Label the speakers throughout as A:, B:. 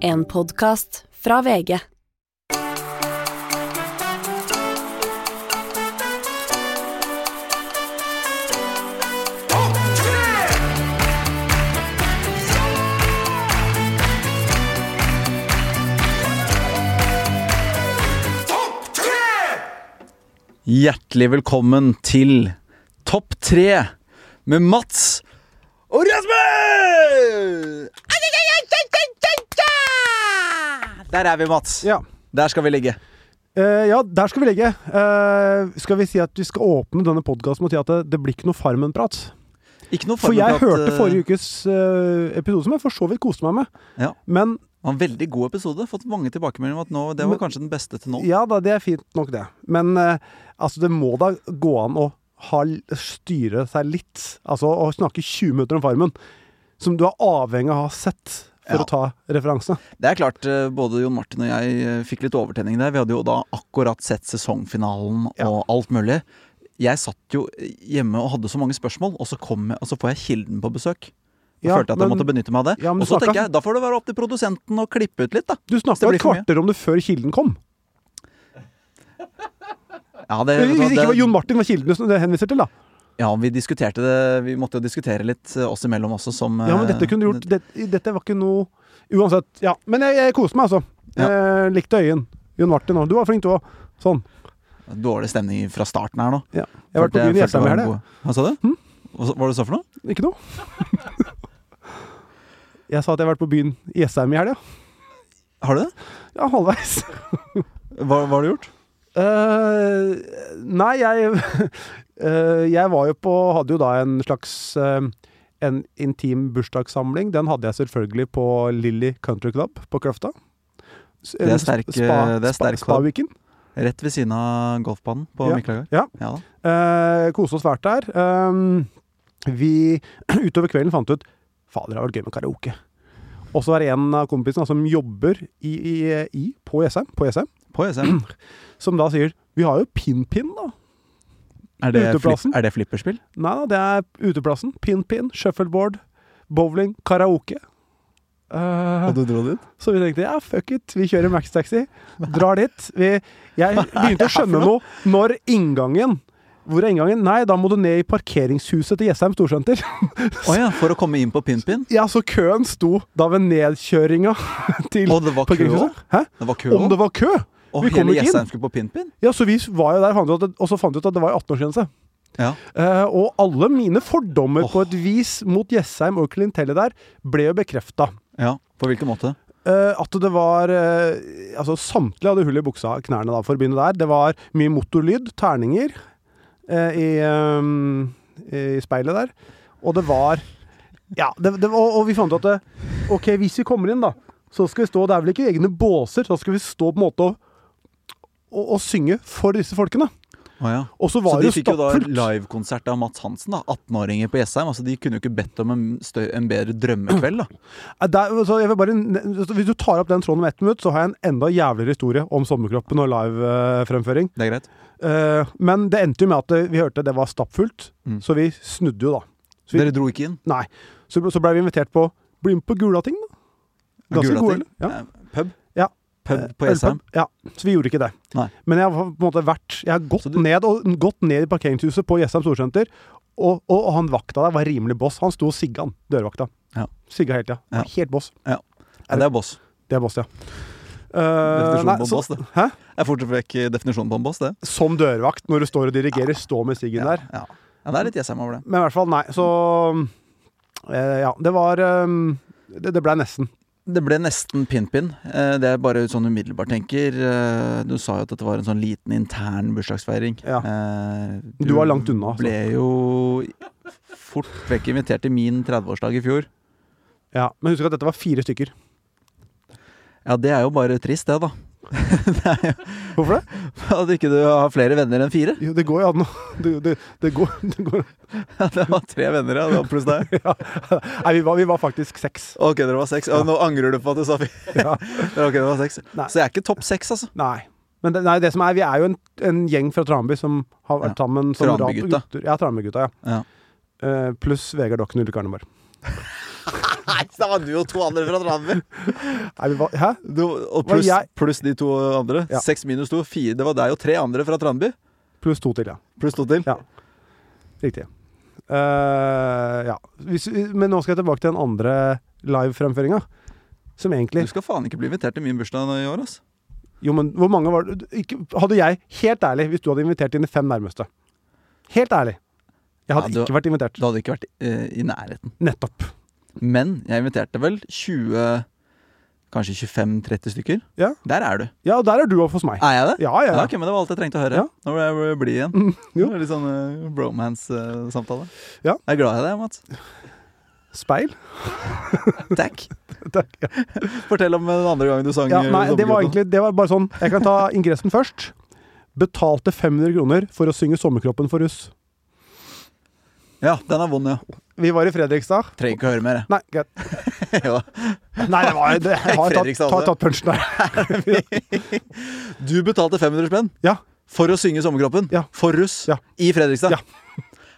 A: En podkast fra VG.
B: Hjertelig velkommen til Topp 3 med Mats og Rasmus! Der er vi, Mats.
C: Ja.
B: Der skal vi ligge.
C: Eh, ja, der skal vi ligge. Eh, skal vi si at vi skal åpne denne podkasten med å si at det, det blir ikke noe Farmen-prat?
B: Ikke noe
C: For jeg hørte forrige
B: uke.
C: ukes eh, episode, som jeg for så vidt koste meg med.
B: Ja,
C: Men
B: det var en veldig god episode. Fått mange tilbakemeldinger om at nå, det var kanskje den beste til nå.
C: ja da, det er fint nok, det. Men eh, altså, det må da gå an å ha, styre seg litt. Altså å snakke 20 minutter om Farmen, som du er avhengig av å ha sett for
B: Ja.
C: å ta referansene.
B: Det er klart, eh, både Jon Martin og jeg eh, fikk litt overtenning der. Vi hadde jo da akkurat sett sesongfinalen
C: Ja.
B: og alt mulig. Jeg satt jo hjemme og hadde så mange spørsmål, og så, kom jeg, og så får jeg Kilden på besøk. Jeg
C: Ja,
B: følte at jeg
C: men-
B: måtte benytte meg av det.
C: Ja, men
B: og
C: du
B: så
C: snakket-
B: tenker jeg, da får det være opp til produsenten å klippe ut litt, da.
C: Du
B: det
C: snakka
B: blir
C: et
B: for mye.
C: kvarter om det før Kilden kom.
B: Ja, det,
C: Hvis
B: det-
C: ikke var Jon Martin var Kilden du henviser til, da.
B: ja, vi diskuterte det. Vi måtte jo diskutere litt eh, oss imellom også, som
C: Ja, men dette kunne du gjort det, Dette var ikke noe Uansett. Ja. Men jeg, jeg koste meg, altså.
B: Ja.
C: Eh, likte øyen. Jon Martin òg. Du var flink, du òg. Sånn.
B: eh, Dårlig stemning fra starten her nå.
C: Ja. Jeg har vært på
B: Følte-
C: byen i
B: følte
C: Jessheim i
B: var en
C: helga.
B: god- Hva sa du?
C: Hm?
B: Hva sa- Hva var det du sa for noe?
C: Ikke noe? jeg sa at jeg har vært på byen i Jessheim i helga.
B: Har du det?
C: Ja, halvveis.
B: Hva, hva har du gjort?
C: Eh, nei, jeg eh, Jeg var jo på Hadde jo da en slags eh, en intim bursdagssamling. Den hadde jeg selvfølgelig på Lilly Country Club på Kløfta. S-
B: Det er
C: en
B: sterk- det er sterk
C: spa,
B: klubb.
C: spa
B: Rett ved siden av golfbanen på
C: Ja.
B: Miklagard.
C: Ja.
B: Ja da.
C: Eh, kose oss svært der. Ehm, vi utover kvelden fant ut Fader, det har vært gøy med karaoke. Og så er det en av kompisene som jobber i, i, i på Jessheim, på Jessheim,
B: På E SM.
C: som da sier Vi har jo pin-pin, da.
B: Er det, flipp,
C: Uteplassen.
B: er det flipperspill?
C: Nei da, det er uteplassen. Pin-pin, shuffleboard, bowling, karaoke. Eh,
B: du dro dit?
C: så vi tenkte ja, fuck it, vi kjører Max-taxi. Drar dit. Vi, jeg begynte å skjønne noe når inngangen Hvor er inngangen? Nei, da må du ned i parkeringshuset til Jessheim storsenter.
B: Å ja, for å komme inn på Pimpin?
C: Ja, så køen sto da ved nedkjøringa til
B: Og det var kø
C: parkeringshuset. Hæ?
B: Det var kø
C: Om det var kø!
B: Og
C: vi kom
B: hele
C: ikke inn.
B: Jessheim skulle på Pimpin?
C: Ja, så vi var jo der, fant ut at, og så fant vi ut at det var 18-årsgrense.
B: Ja.
C: Eh, og alle mine fordommer på et vis mot Jessheim og klientellet der ble jo bekrefta.
B: ja. På hvilken måte?
C: Eh, at det var eh, Altså, samtlige hadde hull i buksa, knærne, da, for å begynne der. Det var mye motorlyd, terninger, eh, i, eh, i speilet der. Og det var Ja, det, det, og, og vi fant ut at det, OK, hvis vi kommer inn, da, så skal vi stå Det er vel ikke egne båser, da skal vi stå på en måte og, og, og synge for disse folkene.
B: Å ja.
C: Og så
B: Så
C: var
B: de
C: det jo
B: fikk jo da
C: stappfullt.
B: livekonsert av Mats Hansen, da. 18-åringer på Jessheim. Altså, de kunne jo ikke bedt om en, stø en bedre drømmekveld, da.
C: Nei, Eh, Der, så jeg vil bare, ne- hvis du tar opp den tråden om ett minutt, så har jeg en enda jævligere historie om sommerkroppen og livefremføring.
B: Det er greit.
C: Eh, men det endte jo med at eh, vi hørte det var stappfullt,
B: Mm.
C: så vi snudde jo da. Så vi,
B: Dere dro ikke inn?
C: nei. Så, ble- så blei vi invitert på Bli med på Gulating, da. Ganske
B: Gulating?
C: gode, eller? Ja.
B: Eh, Pub?
C: Ja.
B: Pub
C: Eh,
B: på Jessheim?
C: ølpub. Ja, så vi gjorde ikke det.
B: Nei.
C: Men jeg har på en måte vært Jeg har gått,
B: Så du-
C: ned, og, gått ned i parkeringshuset på Jessheim Storsenter, og, og, og han vakta der var rimelig boss. Han sto og sigga, han, dørvakta.
B: Ja.
C: Sigga hele tida.
B: Ja.
C: Helt boss.
B: Ja. ja. Det er boss.
C: Det er boss, ja. Eh,
B: Definisjonen
C: nei,
B: på en
C: så-
B: boss, det.
C: Hæ?
B: Det er fort vekk definisjonen på en boss, det.
C: Som dørvakt, når du står og dirigerer, stå med siggen der.
B: Ja. ja, det er litt Jessheim over det.
C: Men i hvert fall, nei. Så eh, Ja, det var ehm, Det, det blei nesten.
B: Det ble nesten pin-pin. Eh, Det er bare sånn umiddelbart tenker. Eh, Du sa jo at dette var en sånn liten intern bursdagsfeiring.
C: Ja.
B: Eh,
C: Du var langt unna, altså.
B: Ble jo fort vekk invitert til min 30-årsdag i fjor.
C: Ja, Men husk at dette var fire stykker.
B: Ja, det er jo bare trist, det, da.
C: Hvorfor det?
B: At ikke du har flere venner enn fire.
C: Jo, det går jo an å- det, det, det går, det går.
B: Ja, Det var tre venner, ja. det var Pluss deg.
C: Ja. Nei, vi var, vi var faktisk seks.
B: Ok, dere var seks. Og nå angrer du på at du sa fire.
C: Ja.
B: Ok, dere var seks.
C: Nei.
B: Så jeg er ikke topp seks, altså.
C: Nei. Men det, nei, det som er, vi er jo en, en gjeng fra Tranby som har vært
B: Ja.
C: sammen som rad-
B: Tranbygutta.
C: gutter. Ja, Tranbygutta. Ja.
B: Ja.
C: Eh, pluss Vegard Dokken og Ulrik Arneberg.
B: Nei, så det var du og to andre fra Drammen.
C: Nei, vi var, hæ?
B: Du, og
C: Var
B: pluss,
C: jeg-
B: pluss de to andre.
C: Ja.
B: Seks minus to, fire. Det var deg og tre andre fra Trandby.
C: Pluss to til, ja.
B: Pluss to til.
C: Ja. Riktig. Eh, ja. Hvis, men nå skal jeg tilbake til den andre livefremføringa. Som egentlig
B: Du skal faen ikke bli invitert til min bursdag nå i år, ass.
C: Jo, men hvor mange var det ikke, Hadde jeg, helt ærlig, hvis du hadde invitert dine fem nærmeste Helt ærlig. Jeg hadde
B: Ja, du-
C: ikke vært invitert.
B: Du hadde ikke vært eh, i nærheten.
C: Nettopp.
B: Men jeg inviterte vel 20 Kanskje 25-30 stykker.
C: Ja.
B: Der er du.
C: Ja, og der er du opp hos meg.
B: Er jeg det?
C: Ja, ja,
B: Ah, Ja,
C: ja.
B: ok, men Det var alt jeg trengte å høre.
C: Ja. Mm,
B: Nå ble jeg blid igjen.
C: jo.
B: Det var Litt sånn eh, bromance-samtale.
C: Ja.
B: Jeg er glad i deg, Mats.
C: Speil.
B: Takk.
C: Takk. Ja.
B: Fortell om den andre gangen du sang.
C: Ja,
B: eh,
C: nei, det var
B: Sommerkroppen.
C: egentlig det var bare sånn Jeg kan ta ingressen først. Betalte 500 kroner for å synge 'Sommerkroppen for russ'.
B: Ja, den er vond, ja.
C: Vi var i Fredrikstad.
B: Trenger ikke å høre mer.
C: Nei, greit.
B: jeg. Ja.
C: Nei, det var, det, jeg har tatt,
B: Fredrikstad
C: tatt,
B: også.
C: tatt punsjen der.
B: Du betalte 500 spenn
C: Ja.
B: for å synge Sommerkroppen.
C: Ja.
B: For russ.
C: Ja.
B: I Fredrikstad.
C: Ja.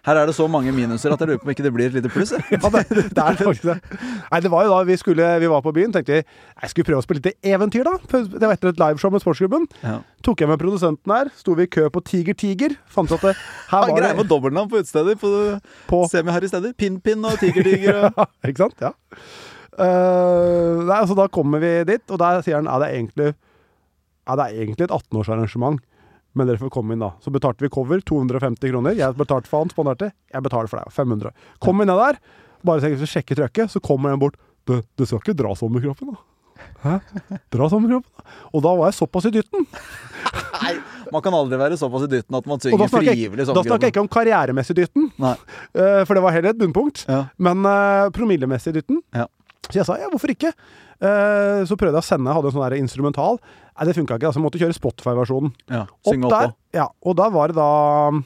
B: Her er det så mange minuser at jeg lurer på om ikke det blir et lite pluss. jeg.
C: Ja, det, det er faktisk det. Nei, det var jo da vi, skulle, vi var på byen, tenkte vi jeg skulle prøve å spille litt eventyr, da. Det var etter et liveshow med sportsklubben.
B: Ja.
C: Tok jeg med produsenten her, sto vi i kø på Tiger Tiger. Fant ut at det, her
B: Han
C: var
B: greier med
C: det
B: dobbeltnavn på utesteder. På
C: på
B: semi-harry steder. Pinn-pinn og tiger-tiger. Og...
C: Ja, Ikke sant? Ja. Eh, nei, altså, da kommer vi dit, og der sier han ja, det er egentlig, ja, det er egentlig et 18-årsarrangement. Men dere får komme inn, da. Så betalte vi cover. 250 kroner. Jeg betalte for han, spanderte. Jeg betaler for deg. 500. Kom vi ned der, bare tenker, sjekke trøkket, så kommer en bort. Du, du skal ikke dra sommerkroppen, da. Hæ? Dra sommerkroppen? da. Og da var jeg såpass i dytten.
B: Nei, man kan aldri være såpass i dytten at man
C: Og da
B: synger
C: snakker jeg,
B: frivillig
C: da snakker jeg
B: Sommerkroppen.
C: ikke om karrieremessig dytten,
B: Nei.
C: eh, for det var heller et bunnpunkt.
B: Ja.
C: Men eh, promillemessig dytten.
B: Ja.
C: Så jeg sa ja, hvorfor ikke? Eh, så prøvde jeg å sende, jeg hadde en sånn der instrumental. Nei, det funka ikke. Altså, jeg måtte kjøre Spotify-versjonen.
B: Ja.
C: Opp
B: Synge
C: der.
B: oppå.
C: Ja, og da var det da um,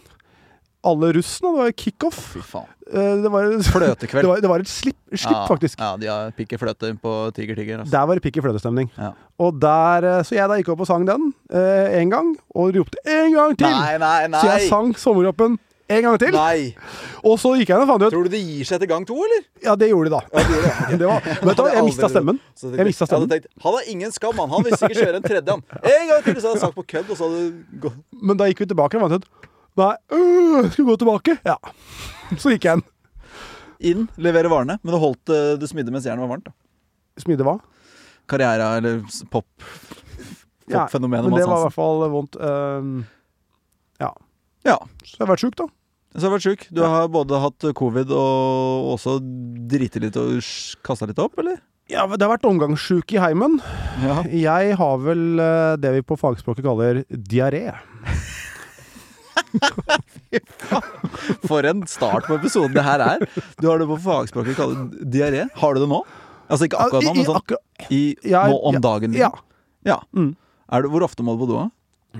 C: alle russene. Det var jo kickoff.
B: Fy faen.
C: Eh, det, var, det,
B: Fløtekveld.
C: var, det var et slipp, slipp
B: Ja,
C: faktisk.
B: Ja, de har pikker fløte på tiger-tiger. Altså.
C: Der var det pikk i fløtestemning.
B: Ja.
C: Og der, eh, så jeg da gikk opp og sang den én gang, og ropte 'en gang til'!
B: Nei, nei, nei!
C: Så jeg sang sommerroppen en gang til.
B: Nei!
C: Og så gikk jeg ned og fant ut
B: Tror du de gir seg etter gang to, eller?
C: Ja, det gjorde de, da. det var, vet du hva,
B: hadde jeg
C: jeg
B: aldri
C: mista
B: trodd.
C: stemmen.
B: Så
C: Jeg mistet stemmen.
B: hadde tenkt, han har ingen skam, han. Han vil sikkert kjøre en tredje, han. En gang til, så hadde jeg sagt på kødd, og så hadde det gått
C: Men da gikk vi tilbake og fant ut Nei, øh, skal vi gå tilbake? Ja. Så gikk jeg en.
B: Inn, levere varene. Men det holdt eh, det smidde mens jernet var varmt. da.
C: Smidde hva?
B: Karriera eller s- pop.
C: Ja,
B: Popfenomenet
C: men det
B: Mads
C: var i
B: Hansen.
C: hvert fall vondt. Ehm, ja.
B: Ja.
C: Så jeg har vært sjuk, da.
B: Så har du vært sjuk. Du har både hatt covid og også driti litt og kasta litt opp, eller?
C: Ja, men Det har vært omgangssjuk i heimen.
B: Ja.
C: Jeg har vel eh, det vi på fagspråket kaller diaré.
B: For en start på episoden det her er. Du har det på fagspråket kalt diaré. Har du det nå? Altså ikke akkurat nå, men sånn
C: akkurat,
B: i,
C: ja,
B: nå om dagen.
C: ja.
B: liksom. ja.
C: Mm.
B: Er du, hvor ofte må du på do? da?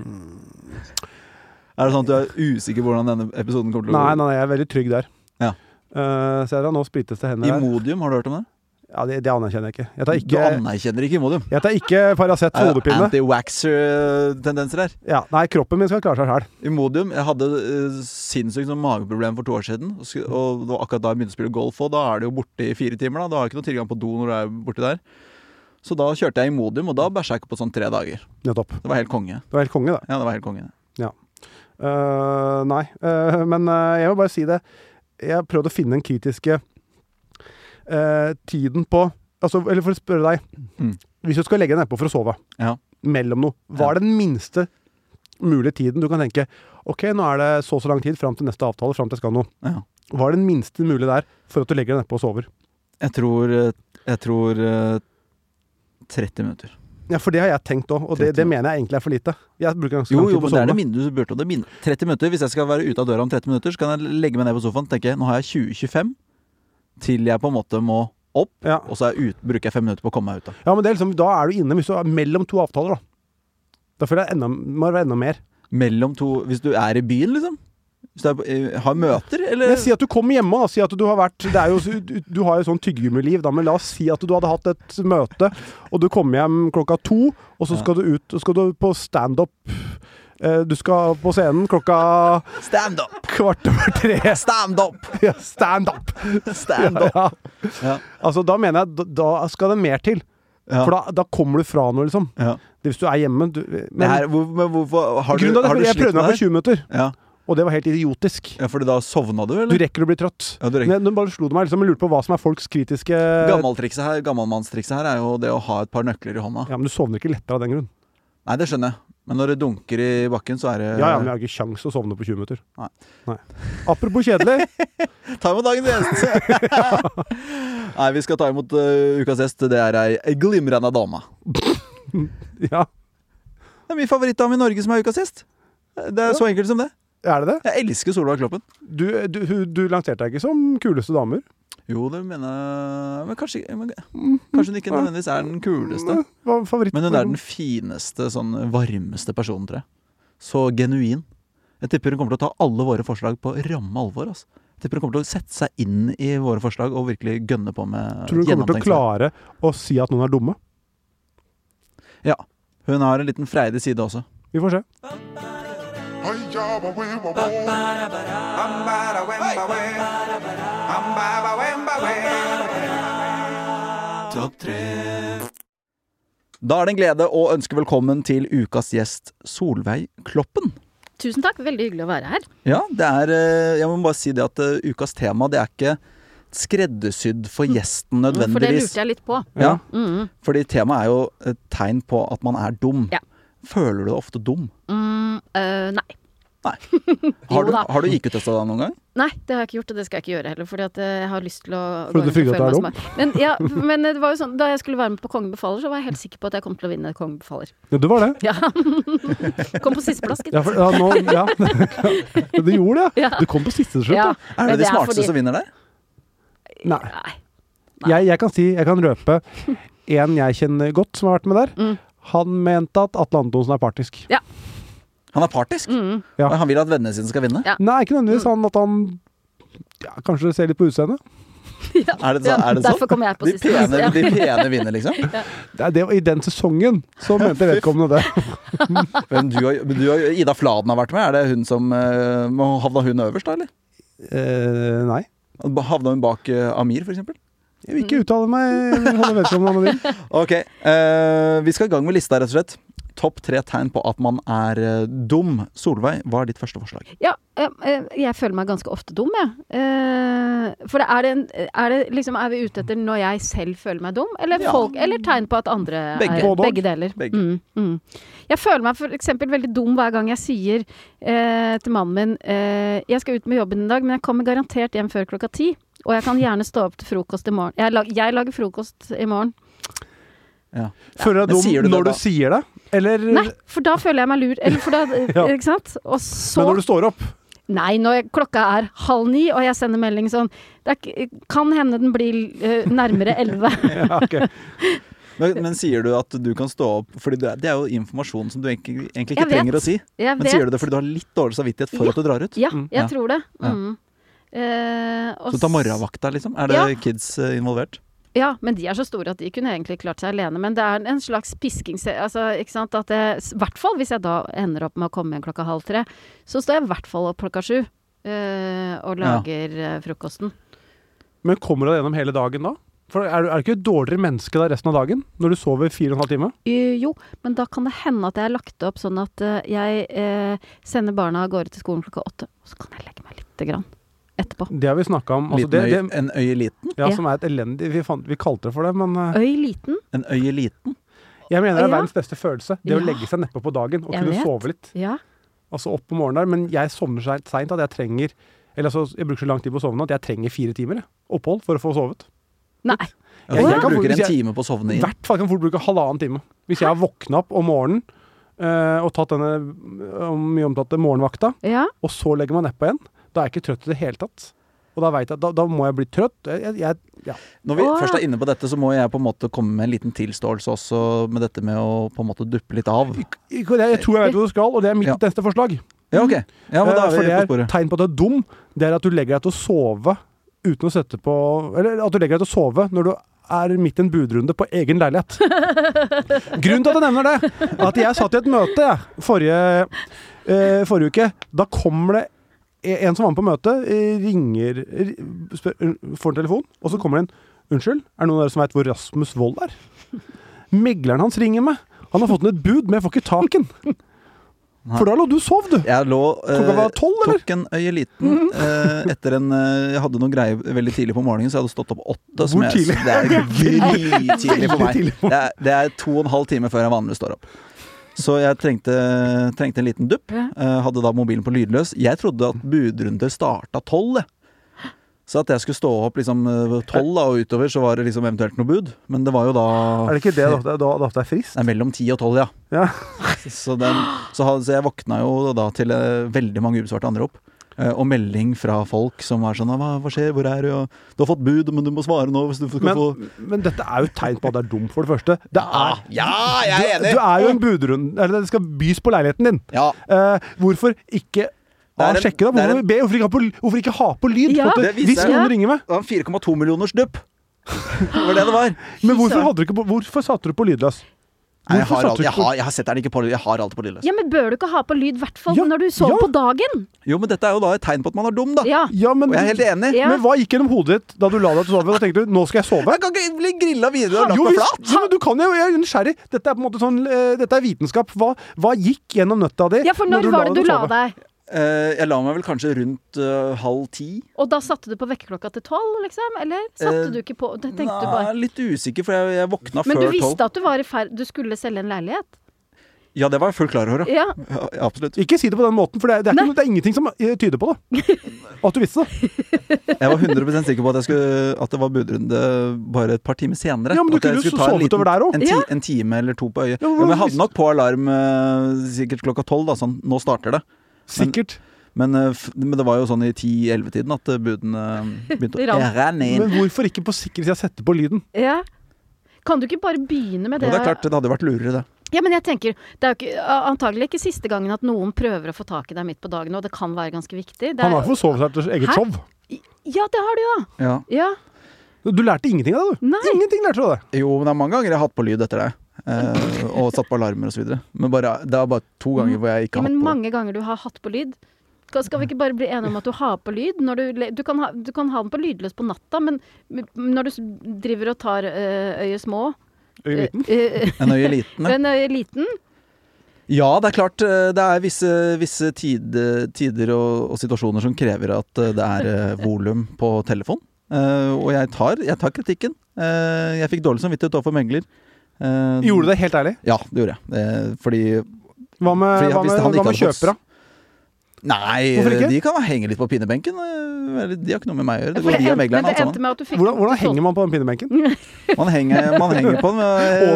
B: Er det sånn at du er usikker på hvordan denne episoden kommer til å
C: Nei, nei, nei, jeg er veldig trygg der.
B: Ja.
C: Eh, ser dere, nå sprites det hender. her.
B: Imodium, har du hørt om det?
C: Ja, det, det anerkjenner jeg ikke. Jeg tar
B: Du
C: ikke,
B: anerkjenner ikke Imodium.
C: jeg tar ikke Paracet
B: Det
C: for
B: er jo
C: hodepine.
B: anti-waxer-tendenser her.
C: Ja, nei, kroppen min skal klare seg sjæl.
B: Imodium Jeg hadde eh, sinnssykt sånn mageproblem for to år siden. Og, sk- og det var akkurat da jeg begynte å spille golf, og da er det jo borte i fire timer. Da Da har jeg ikke noe tilgang på do når du er borti der. Så da kjørte jeg Imodium, og da bæsja jeg ikke på sånn tre dager.
C: Nettopp.
B: Det var helt konge.
C: Det var helt konge, det.
B: Ja, det var helt konge.
C: Eh, nei, eh, men eh, jeg må bare si det. Jeg prøvde å finne den kritiske eh, tiden på altså, Eller for å spørre deg.
B: Mm.
C: Hvis du skal legge deg nedpå for å sove,
B: Ja.
C: mellom noe, hva er den minste mulige tiden du kan tenke Ok, nå er det så og så lang tid fram til neste avtale, fram til jeg skal noe.
B: Ja.
C: Hva er den minste mulige der for at du legger deg nedpå og sover?
B: Jeg tror eh, Jeg tror eh, 30 minutter.
C: Ja, For det har jeg tenkt òg, og det, det mener jeg egentlig er for lite. Jeg bruker ganske
B: Jo,
C: lang
B: jo,
C: tid på å
B: men det er det
C: sove.
B: minnet du burde om. Det er min- 30 minutter. Hvis jeg skal være ute av døra om 30 minutter, så kan jeg legge meg ned på sofaen tenke nå har jeg 20-25 til jeg på en måte må opp,
C: Ja.
B: og så er jeg ut, bruker jeg fem minutter på å komme meg ut. Da.
C: ja, men det er liksom, da er du inne hvis du er mellom to avtaler, da. Da føler jeg enda, må det være enda mer.
B: Mellom to Hvis du er i byen, liksom? Hvis du er, på- eh, har møter, eller?
C: Men si at du kom hjemme, da. Si at du har vært det er jo, du, du har jo sånn tyggegummiliv, da, men la oss si at du hadde hatt et møte, og du kom hjem klokka to, og så skal du ut og skal du på standup Eh, Du skal på scenen klokka
B: Stand up!
C: kvart over tre.
B: Stand up!
C: Ja, Stand up!
B: Stand up!
C: Ja.
B: Ja.
C: Altså, da mener jeg da- da skal det mer til.
B: Ja.
C: For da, da kommer du fra noe, liksom.
B: Ja.
C: Hvis du er hjemme du,
B: Det
C: men,
B: her, hvor, men hvorfor Har du,
C: grunnen til at
B: har du
C: jeg, jeg
B: slitt
C: prøvde meg
B: med
C: på 20 minutter,
B: Ja.
C: og det var helt idiotisk.
B: ja, fordi da sovna du,
C: Du
B: eller?
C: rekker å bli trøtt.
B: Ja, du rekker.
C: Men eh, Nå bare slo det meg liksom, jeg lurte på hva som er folks kritiske
B: Gammeltrikset her, Gammelmannstrikset her er jo det å ha et par nøkler i hånda.
C: Ja, Men du sovner ikke lettere av den grunn.
B: Nei, det skjønner jeg. Men når det dunker i bakken, så er det
C: Ja, ja, men jeg har ikke kjangs å sovne på 20 minutter.
B: Nei.
C: Nei. Apropos kjedelig.
B: Ta imot dagens gjest! Nei, vi skal ta imot eh, ukas gjest. Det er ei glimrende dame.
C: Ja,
B: Det er min favorittdame i Norge som er ukas gjest. Det er så enkelt som det.
C: er det det?
B: Jeg elsker Solveig Kloppen.
C: Du, du, hun- du lanserte deg ikke som kuleste damer.
B: Jo, det mener jeg Mm. Men kanskje, men, kanskje hun ikke nødvendigvis er den kuleste.
C: Hva er favoritt?
B: Men hun er den fineste, sånn varmeste personen, tror jeg. Så genuin. Jeg tipper hun kommer til å ta alle våre forslag på ramme alvor. Altså. Jeg tipper hun kommer til å sette seg inn i våre forslag og virkelig gønne på med
C: Tror du hun kommer til å
B: gjennomtenkt.
C: klare å si at noen er dumme?
B: Ja. Hun har en liten freidig side også.
C: Vi får se.
B: Da er det en glede å ønske velkommen til ukas gjest Solveig Kloppen.
D: Tusen takk, veldig hyggelig å være her.
B: Ja, det er eh, Jeg må bare si det at eh, ukas tema, det er ikke skreddersydd for gjesten
C: Mm.
D: For det
B: nødvendigvis.
D: lurte jeg litt på.
B: Ja,
D: Mm.
B: fordi temaet er jo et tegn på at man er dum.
D: Ja.
B: Føler du deg ofte dum?
D: Mm, øh, nei.
B: Har du,
D: da.
B: har du IQ-testa deg noen gang?
D: Nei, det har jeg ikke gjort, og det skal jeg ikke gjøre heller. Fordi at eh, jeg har lyst til å
C: Fordi du
D: gå rundt og
C: frykter at
D: føle
C: du er
D: meg som Men, ja, men det var jo sånn, da jeg skulle være med på Kongen befaler, så var jeg helt sikker på at jeg kom til å vinne Kongen befaler.
C: Ja, det var det.
D: Ja. kom på sisteplass, gitt.
C: Ja, for, ja, nå, ja. Du gjorde det, ja.
D: Ja.
C: Du kom på siste til slutt,
D: Ja,
C: ja.
B: Er
D: men
B: det de smarteste
D: Eh, fordi-
B: som vinner der?
C: Nei.
D: Nei.
C: Jeg, jeg kan si, jeg kan røpe en jeg kjenner godt som har vært med der.
D: Mm.
C: Han mente at Atle Antonsen er partisk.
B: Han er partisk.
D: Mm.
C: Ja.
B: Og Han vil at vennene sine skal vinne.
D: Ja.
C: Nei, ikke nødvendigvis han at han ja, Kanskje ser litt på utseendet.
B: Er det, så, er det sånn?
D: Derfor kom jeg på
B: De
D: sisteplass.
B: pene,
D: Ja.
B: de pene vinner, liksom.
C: Det er det, I den sesongen så mente vedkommende det.
B: Men du og, men du og Ida Fladen har vært med. Er det hun som eh, må- Havna hun øverst, da, eller?
C: Eh, nei.
B: Havna hun bak eh, Amir, for eksempel?
C: Jeg vil
D: Mm.
C: ikke uttale meg. Jeg vil holde vedkommende anonym.
B: Ok, eh, vi skal i gang med lista, rett og slett. Topp tre tegn på at man er eh, dum. Solveig, hva er ditt første forslag?
D: Ja, eh, eh, jeg føler meg ganske ofte dum, jeg. Eh, For er det, en, er det liksom Er vi ute etter når jeg selv føler meg dum, eller,
B: Ja.
D: folk, eller tegn på at andre
B: Begge.
D: er
C: Både og.
D: Begge deler.
B: Begge.
D: Mm, mm. Jeg føler meg f.eks. veldig dum hver gang jeg sier eh, til mannen min eh, Jeg skal ut med jobben i dag, men jeg kommer garantert hjem før klokka ti. Og jeg kan gjerne stå opp til frokost i morgen. Jeg, lag, jeg lager frokost i morgen.
C: Føler du
B: Men
C: deg
B: sier du
C: dum
B: det
C: når
B: da?
C: du sier det? Eller
D: Nei, for da føler jeg meg lur. Eller for da,
C: Ja.
D: Ikke sant? Og
C: men
D: så
C: når du står opp?
D: Nei, når jeg- klokka er halv ni, og jeg sender melding sånn det er, ikke- Kan hende den blir eh, nærmere elleve.
C: Ja, ok.
B: Men, men sier du at du kan stå opp Fordi det er, det er jo informasjon som du egentlig, egentlig ikke
D: Jeg vet.
B: trenger å si.
D: Jeg
B: Men
D: vet.
B: sier du det fordi du har litt dårlig samvittighet for
D: Ja.
B: at du drar ut?
D: Ja,
C: Mm.
D: jeg
B: Ja.
D: tror det.
B: Ja.
D: Mm. Eh, og
B: Så ta
D: s-
B: morgenvakta, liksom. Er det
D: Ja.
B: kids eh, involvert?
D: Ja, men de er så store at de kunne egentlig klart seg alene. Men det er en slags pisking altså, ikke sant? At jeg, I hvert fall hvis jeg da ender opp med å komme hjem klokka halv tre, så står jeg i hvert fall opp klokka sju eh, og
B: Ja.
D: lager eh, frokosten.
C: Men kommer du deg gjennom hele dagen da? For er du, er du ikke et dårligere menneske da resten av dagen? Når du sover fire og en halv time?
D: Eh, Jo, men da kan det hende at jeg har lagt det opp sånn at eh, jeg eh, sender barna av gårde til skolen klokka åtte, og så kan jeg legge meg lite grann etterpå.
C: Det har vi snakka om. Altså,
B: Liten
C: det, det,
B: øy, en øy i liten?
C: ja,
D: Ja.
C: som er et elendig Vi, fant, vi kalte det for det, men eh,
D: Øy liten?
B: En øy i liten?
C: jeg mener det er
D: Ja.
C: verdens beste følelse. Det å
D: Ja.
C: legge seg nedpå på dagen og
D: Jeg
C: kunne
D: vet.
C: sove litt.
D: Ja.
C: Altså opp om morgenen der, Men jeg sovner så seint at jeg trenger Eller altså, jeg bruker så lang tid på å sovne at jeg trenger fire timer jeg, opphold for å få sovet.
D: Nei.
B: Ja,
D: Ja.
B: jeg Altså, bruker en
C: Hvis jeg-
B: time på å sovne
C: I
B: inn.
C: hvert fall kan jeg fort bruke halvannen time. Hvis jeg har våkna opp om morgenen eh, og tatt denne eh, mye omtalte morgenvakta,
D: Ja.
C: og så legger meg nedpå igjen, da er jeg ikke trøtt i det hele tatt. Og da vet jeg, at da, da må jeg bli trøtt. Jeg, jeg, ja.
B: Når vi
D: Å, ja.
B: først er inne på dette, så må jeg på en måte komme med en liten tilståelse også med dette med å på en måte duppe litt av.
C: jeg, jeg tror jeg vet hvor du skal, og det er mitt
B: Ja.
C: neste forslag.
B: Ja, ok. Ja, men da
C: Eh,
B: er
C: For
B: vi
C: det
B: på
C: er
B: sporet.
C: tegn på at du er dum, det er at du legger deg til å sove uten å sette på Eller at du legger deg til å sove når du er midt i en budrunde på egen leilighet. Grunnen til at jeg nevner det, er at jeg satt i et møte jeg, forrige, eh, forrige uke. Da kommer det e- en som var med på møtet, eh, ringer ri- spør, Får en telefon, og så kommer det en Unnskyld, er det noen av dere som veit hvor Rasmus Wold er? Megleren hans ringer meg. Han har fått inn et bud, men jeg får ikke tak i den. For da lå du og sov, du.
B: Jeg lå eh,
C: Klokka var tolv, eller? Mhm.
B: Tok en øyeliten eh, etter en eh, Jeg hadde noen greier veldig tidlig på morgenen, så jeg hadde stått opp åtte. som
C: Hvor
B: jeg-
C: tidlig?
B: Det er drittidlig
C: Veldig
B: for meg.
C: tidlig på
B: Det er, det er to og en halv time før jeg vanligvis står opp. Så jeg trengte, trengte en liten dupp.
D: Ja.
B: Eh, hadde da mobilen på lydløs. Jeg trodde at budrunder starta tolv. jeg. Så at jeg skulle stå opp liksom eh, tolv da, og utover, så var det liksom eventuelt noe bud. Men det var jo da
C: Er det ikke det da- da da- da det er frist?
B: Nei, mellom ti og tolv, ja.
C: Ja.
B: Så, den, så, ha- så jeg våkna jo da til eh, veldig mange ubesvarte anrop. eh, Og melding fra folk som var sånn hva, 'Hva skjer? Hvor er du?' Og 'Du har fått bud, men du må svare nå.' Hvis du skal
C: Men,
B: få Ah,
C: men dette er jo et tegn på at det er dumt, for det første. Det er,
B: Ja, jeg er
C: Ah, du er jo en budrunde Eller det skal bys på leiligheten din.
B: Ja,
C: Eh, hvorfor ikke A,
B: Det er en-
C: sjekke, da?
B: det er
C: Hvorfor,
B: en-
C: B, hvorfor, ikke ha på, hvorfor ikke ha på lyd?
D: Ja.
C: på at
B: Det viser
C: hvis
B: jeg.
C: noen
D: Ja.
C: ringer meg.
B: Det var en 4,2 millioners dupp. Det var det det var.
C: Men
D: søren.
C: hvorfor, hadde du ikke, på- hvorfor satte du på lydløs?
B: Nei, jeg,
C: Hvorfor
B: har
C: satte
B: alt,
C: du
B: jeg,
C: ikke på-
B: har, jeg har sett den ikke på Jeg har alltid på lydløs.
D: Ja, men bør du ikke ha på lyd, i hvert fall
C: Ja,
D: når du sover
C: ja.
D: på dagen?
B: Jo, men dette er jo da et tegn på at man er dum, da.
D: Ja.
C: Ja, men,
B: Og jeg er helt enig.
D: Ja.
C: men hva gikk gjennom hodet ditt da du la deg til å sove? Da tenkte du 'nå skal jeg sove'?
B: Jeg kan ikke bli grilla videre og lagt
C: Jo,
B: meg
C: visst.
B: flat.
C: Jo, men du kan jo, jeg er nysgjerrig. Dette er på en måte sånn, eh, dette er vitenskap. Hva, hva gikk gjennom nøtta di?
D: ja, for når var det du la deg?
B: Eh, jeg la meg vel kanske rundt eh, halv ti.
D: Og da satte du på vekkerklokka til tolv, liksom? Eller satte
B: Eh,
D: du ikke på det Tenkte
B: Nei,
D: du bare
B: Litt usikker, for jeg, jeg våkna
D: Men du
B: før tolv.
D: visste at du var i ferd Du skulle selge en leilighet?
B: Ja, det var jeg fullt klar over, ja.
D: Ja.
B: ja. Absolutt.
C: Ikke si det på den måten, for det er, det er, ikke, noe- det er ingenting som eh, tyder på det. At du visste det.
B: Jeg var 100 sikker på at, jeg skulle, at det var budrunde bare et par timer senere.
C: Ja, men du
B: At jeg
C: kunne jo
B: skulle ta en
C: sovet
B: liten-
C: over der også.
B: En, ti,
D: Ja.
B: en time eller to på øyet.
C: Ja,
B: Ja,
C: men
B: men jeg
C: hvis-
B: hadde nok på alarm eh, sikkert klokka tolv, da. Sånn, nå starter det.
C: Sikkert.
B: Men, eh, f men det var jo sånn i 10-11-tiden at eh, budene eh, begynte å
D: Ramp.
B: ære ned.
C: Men hvorfor ikke på sikkerhet jeg setter på lyden?
D: ja. Kan du ikke bare begynne med
B: Jo,
D: det?
B: det er klart, det hadde jo vært lurere, det.
D: Ja, men jeg tenker, Det er jo ikke, antagelig ikke siste gangen at noen prøver å få tak i deg midt på dagen, og det kan være ganske viktig. Det
C: Han har
D: er,
C: jo forsovet seg til
D: Hæ?
C: eget show.
D: ja, det har du jo!
B: Ja.
D: Ja.
C: Du lærte ingenting av det, du.
D: Nei.
C: Ingenting lærte du av det.
B: Jo, men det er mange ganger jeg har hatt på lyd etter deg. Eh, og satt på alarmer og så videre. Men bare, det er bare to ganger hvor jeg
D: Mm. ja,
B: ikke har
D: men
B: hatt på.
D: mange ganger du har hatt på lyd. Skal skal vi ikke bare bli enige om at du har på lyd? Når du, le- du, kan ha, du kan ha den på lydløs på natta, men men når du s- driver og tar øh, øyet små
C: Øyeliten.
D: øh,
B: En øye liten.
D: øh,
B: ja.
D: En øye liten.
B: Ja, det er klart. eh, Det er visse, visse tid, tider og, og situasjoner som krever at eh, det er eh, volum på telefon. Eh, og jeg tar, jeg tar kritikken. Eh, jeg fikk dårlig samvittighet overfor megler. Uh,
C: Gjorde du det helt ærlig?
B: Ja, det gjorde jeg. Eh, fordi
C: Hva med,
B: Fordi
C: hva
B: hvis
C: med, hva
B: han ikke
C: med
B: hadde boks-
C: kjøpere?
B: Nei,
C: Hvorfor ikke?
B: de kan henge litt på pinebenken. eh, eller De har ikke noe med meg å gjøre. Det
D: For
B: går
D: det
B: via
D: endte- men
B: megleren,
D: det
B: alt
D: endte
B: sammen.
D: med at du fikk
C: Hvordan, hvordan henger man på den pinnebenken?
B: Man henger, man henger på den. eh,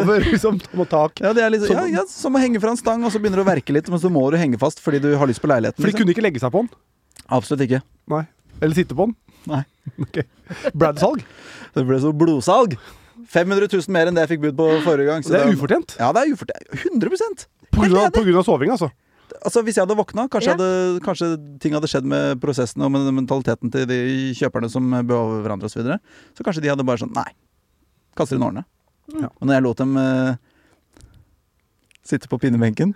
C: Over, liksom. Mot tak.
B: Ja, det er litt,
C: Som-
B: ja, ja, som å henge fra en stang, og så begynner du å verke litt, men så må du henge fast fordi du har lyst på leiligheten.
C: For de
B: Liksom.
C: kunne ikke legge seg på den?
B: Absolutt ikke.
C: Nei. Eller sitte på den?
B: Nei.
C: Ok. Brad-salg?
B: Det ble så blodsalg. 500 000 mer enn det jeg fikk bud på forrige gang. så
C: Det er ufortjent.
B: Ja, det er ufortjent. 100
C: På
B: Helt
C: grunn, av,
B: enig.
C: på grunn av soving, altså.
B: Altså, Hvis jeg hadde våkna, kanskje,
D: Ja.
B: hadde, kanskje ting hadde skjedd med prosessene og med mentaliteten til de kjøperne som behøver hverandre osv. Så, videre. så kanskje de hadde bare sånn Nei. Kaster inn årene.
C: Ja.
B: Men når jeg lot dem eh, sitte på pinnebenken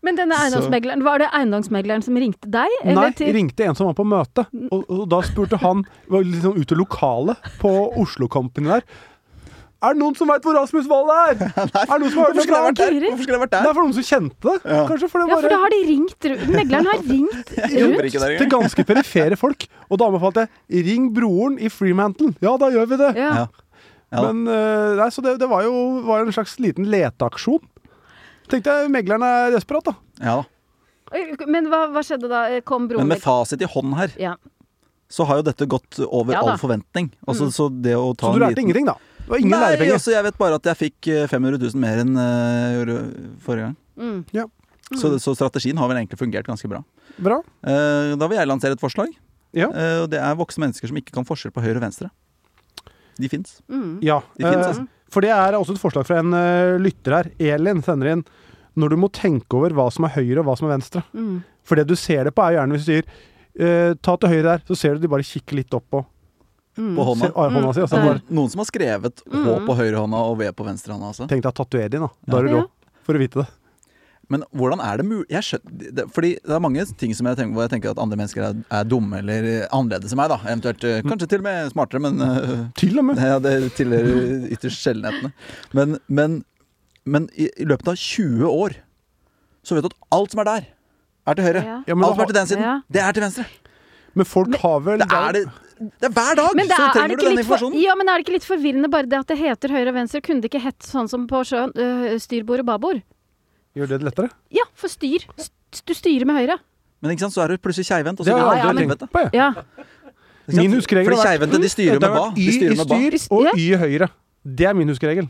D: Men denne
B: Så-
D: eiendomsmegleren, var det eiendomsmegleren som ringte deg?
C: Nei,
D: Eller til
C: ringte en som var på møte, og, og da spurte han var liksom ute i lokalet på Oslo Company der. Er det noen som veit hvor Rasmus Wold er?! Er det noen som har hørt
B: Hvorfor skulle jeg
C: noe
B: vært der?
D: Guri.
B: Hvorfor skulle jeg vært
C: Det
B: der?
C: er for noen som kjente det.
B: Ja.
C: Kanskje for det
D: Ja, for da
C: bare
D: har de ringt rundt. Megleren har ringt
B: jobber
D: rundt.
B: ikke der
C: til
B: engang.
C: ganske perifere folk. Og da anbefalte jeg 'ring broren i Freemantle'. Ja, da gjør vi det!
D: Ja.
B: Ja. Ja da.
C: Men eh, nei, Så det, det var jo var en slags liten leteaksjon. Tenkte jeg megleren er desperat, da.
B: Ja da.
D: Men hva, hva skjedde da? Eh, Kom broren
B: Men med fasit i hånd her,
D: ja.
B: så har jo dette gått over
D: Ja da.
B: all forventning. Altså, Så det å ta
C: Så du
B: en
C: lærte
B: liten-
C: ingenting, da. Det var ingen
B: Nei,
C: lærepenger.
B: altså, jeg vet bare at jeg fikk eh, 500 000 mer enn eh, jeg gjorde forrige gang.
D: Mm.
B: Så, så strategien har vel egentlig fungert ganske bra.
C: Bra.
B: Eh, da vil jeg lansere et forslag.
C: Ja.
B: Eh, og det er voksne mennesker som ikke kan forskjell på høyre og venstre. De fins.
D: Mm.
C: Ja,
B: De finnes,
C: eh,
B: altså.
C: For det er også et forslag fra en eh, lytter her. Elin sender inn når du må tenke over hva som er høyre og hva som er venstre.
D: Mm.
C: For det du ser det på, er gjerne hvis du sier eh, ta til høyre der, så ser du de bare kikker litt opp og
D: Mm.
B: på
C: Se,
B: hånda.
C: ah, hånda si, og så
D: Mm.
B: Det
C: bare
B: var noen som har skrevet H
D: Mm.
B: på høyrehånda og V på venstrehånda. Altså.
C: Tenk deg å tatovere din, da. Da er du
D: Ja.
C: rå. For å vite det.
B: Men hvordan er det mulig Jeg skjønner det, Fordi det er mange ting som jeg tenker, hvor jeg tenker at andre mennesker er, er dumme eller annerledes enn meg. da
C: Mm.
B: Eventuelt eh, kanskje til og med smartere, men eh,
C: Til og med.
B: ja, det tilhører ytterst sjeldenhetene. Men, men, men i, i løpet av 20 år så vet du at alt som er der, er til høyre.
D: Ja.
C: Ja, men
B: alt som
C: hva-
B: er til den siden,
D: Ja.
B: det er til venstre.
C: Men folk har vel
B: Det er, det, det er hver dag!
D: Men det
B: så
D: er, er det
B: trenger du
D: ikke
B: den
D: litt for,
B: informasjonen.
D: ja, men er det ikke litt forvirrende bare det at det heter høyre og venstre? Kunne det ikke hett sånn som på sjøen? øh, styrbord og babord?
C: Gjør det lettere?
D: Ja, for styr. St- Du styrer med høyre.
B: Men ikke sant, så er du plutselig keivhendt. og så
C: Det har jeg
B: går du
D: ja,
B: til
C: aldri
D: men-
B: helvete.
C: tenkt på, jeg.
D: Ja.
B: Ikke sant?
C: Min huskeregel
B: Fordi
C: har vært-
B: keivhendte, de styrer
C: Det har
B: med hva?
C: vært
B: De
C: Y i
B: styrer med hva?
C: styr
D: Ja.
C: og Y i høyre. Det er min huskeregel.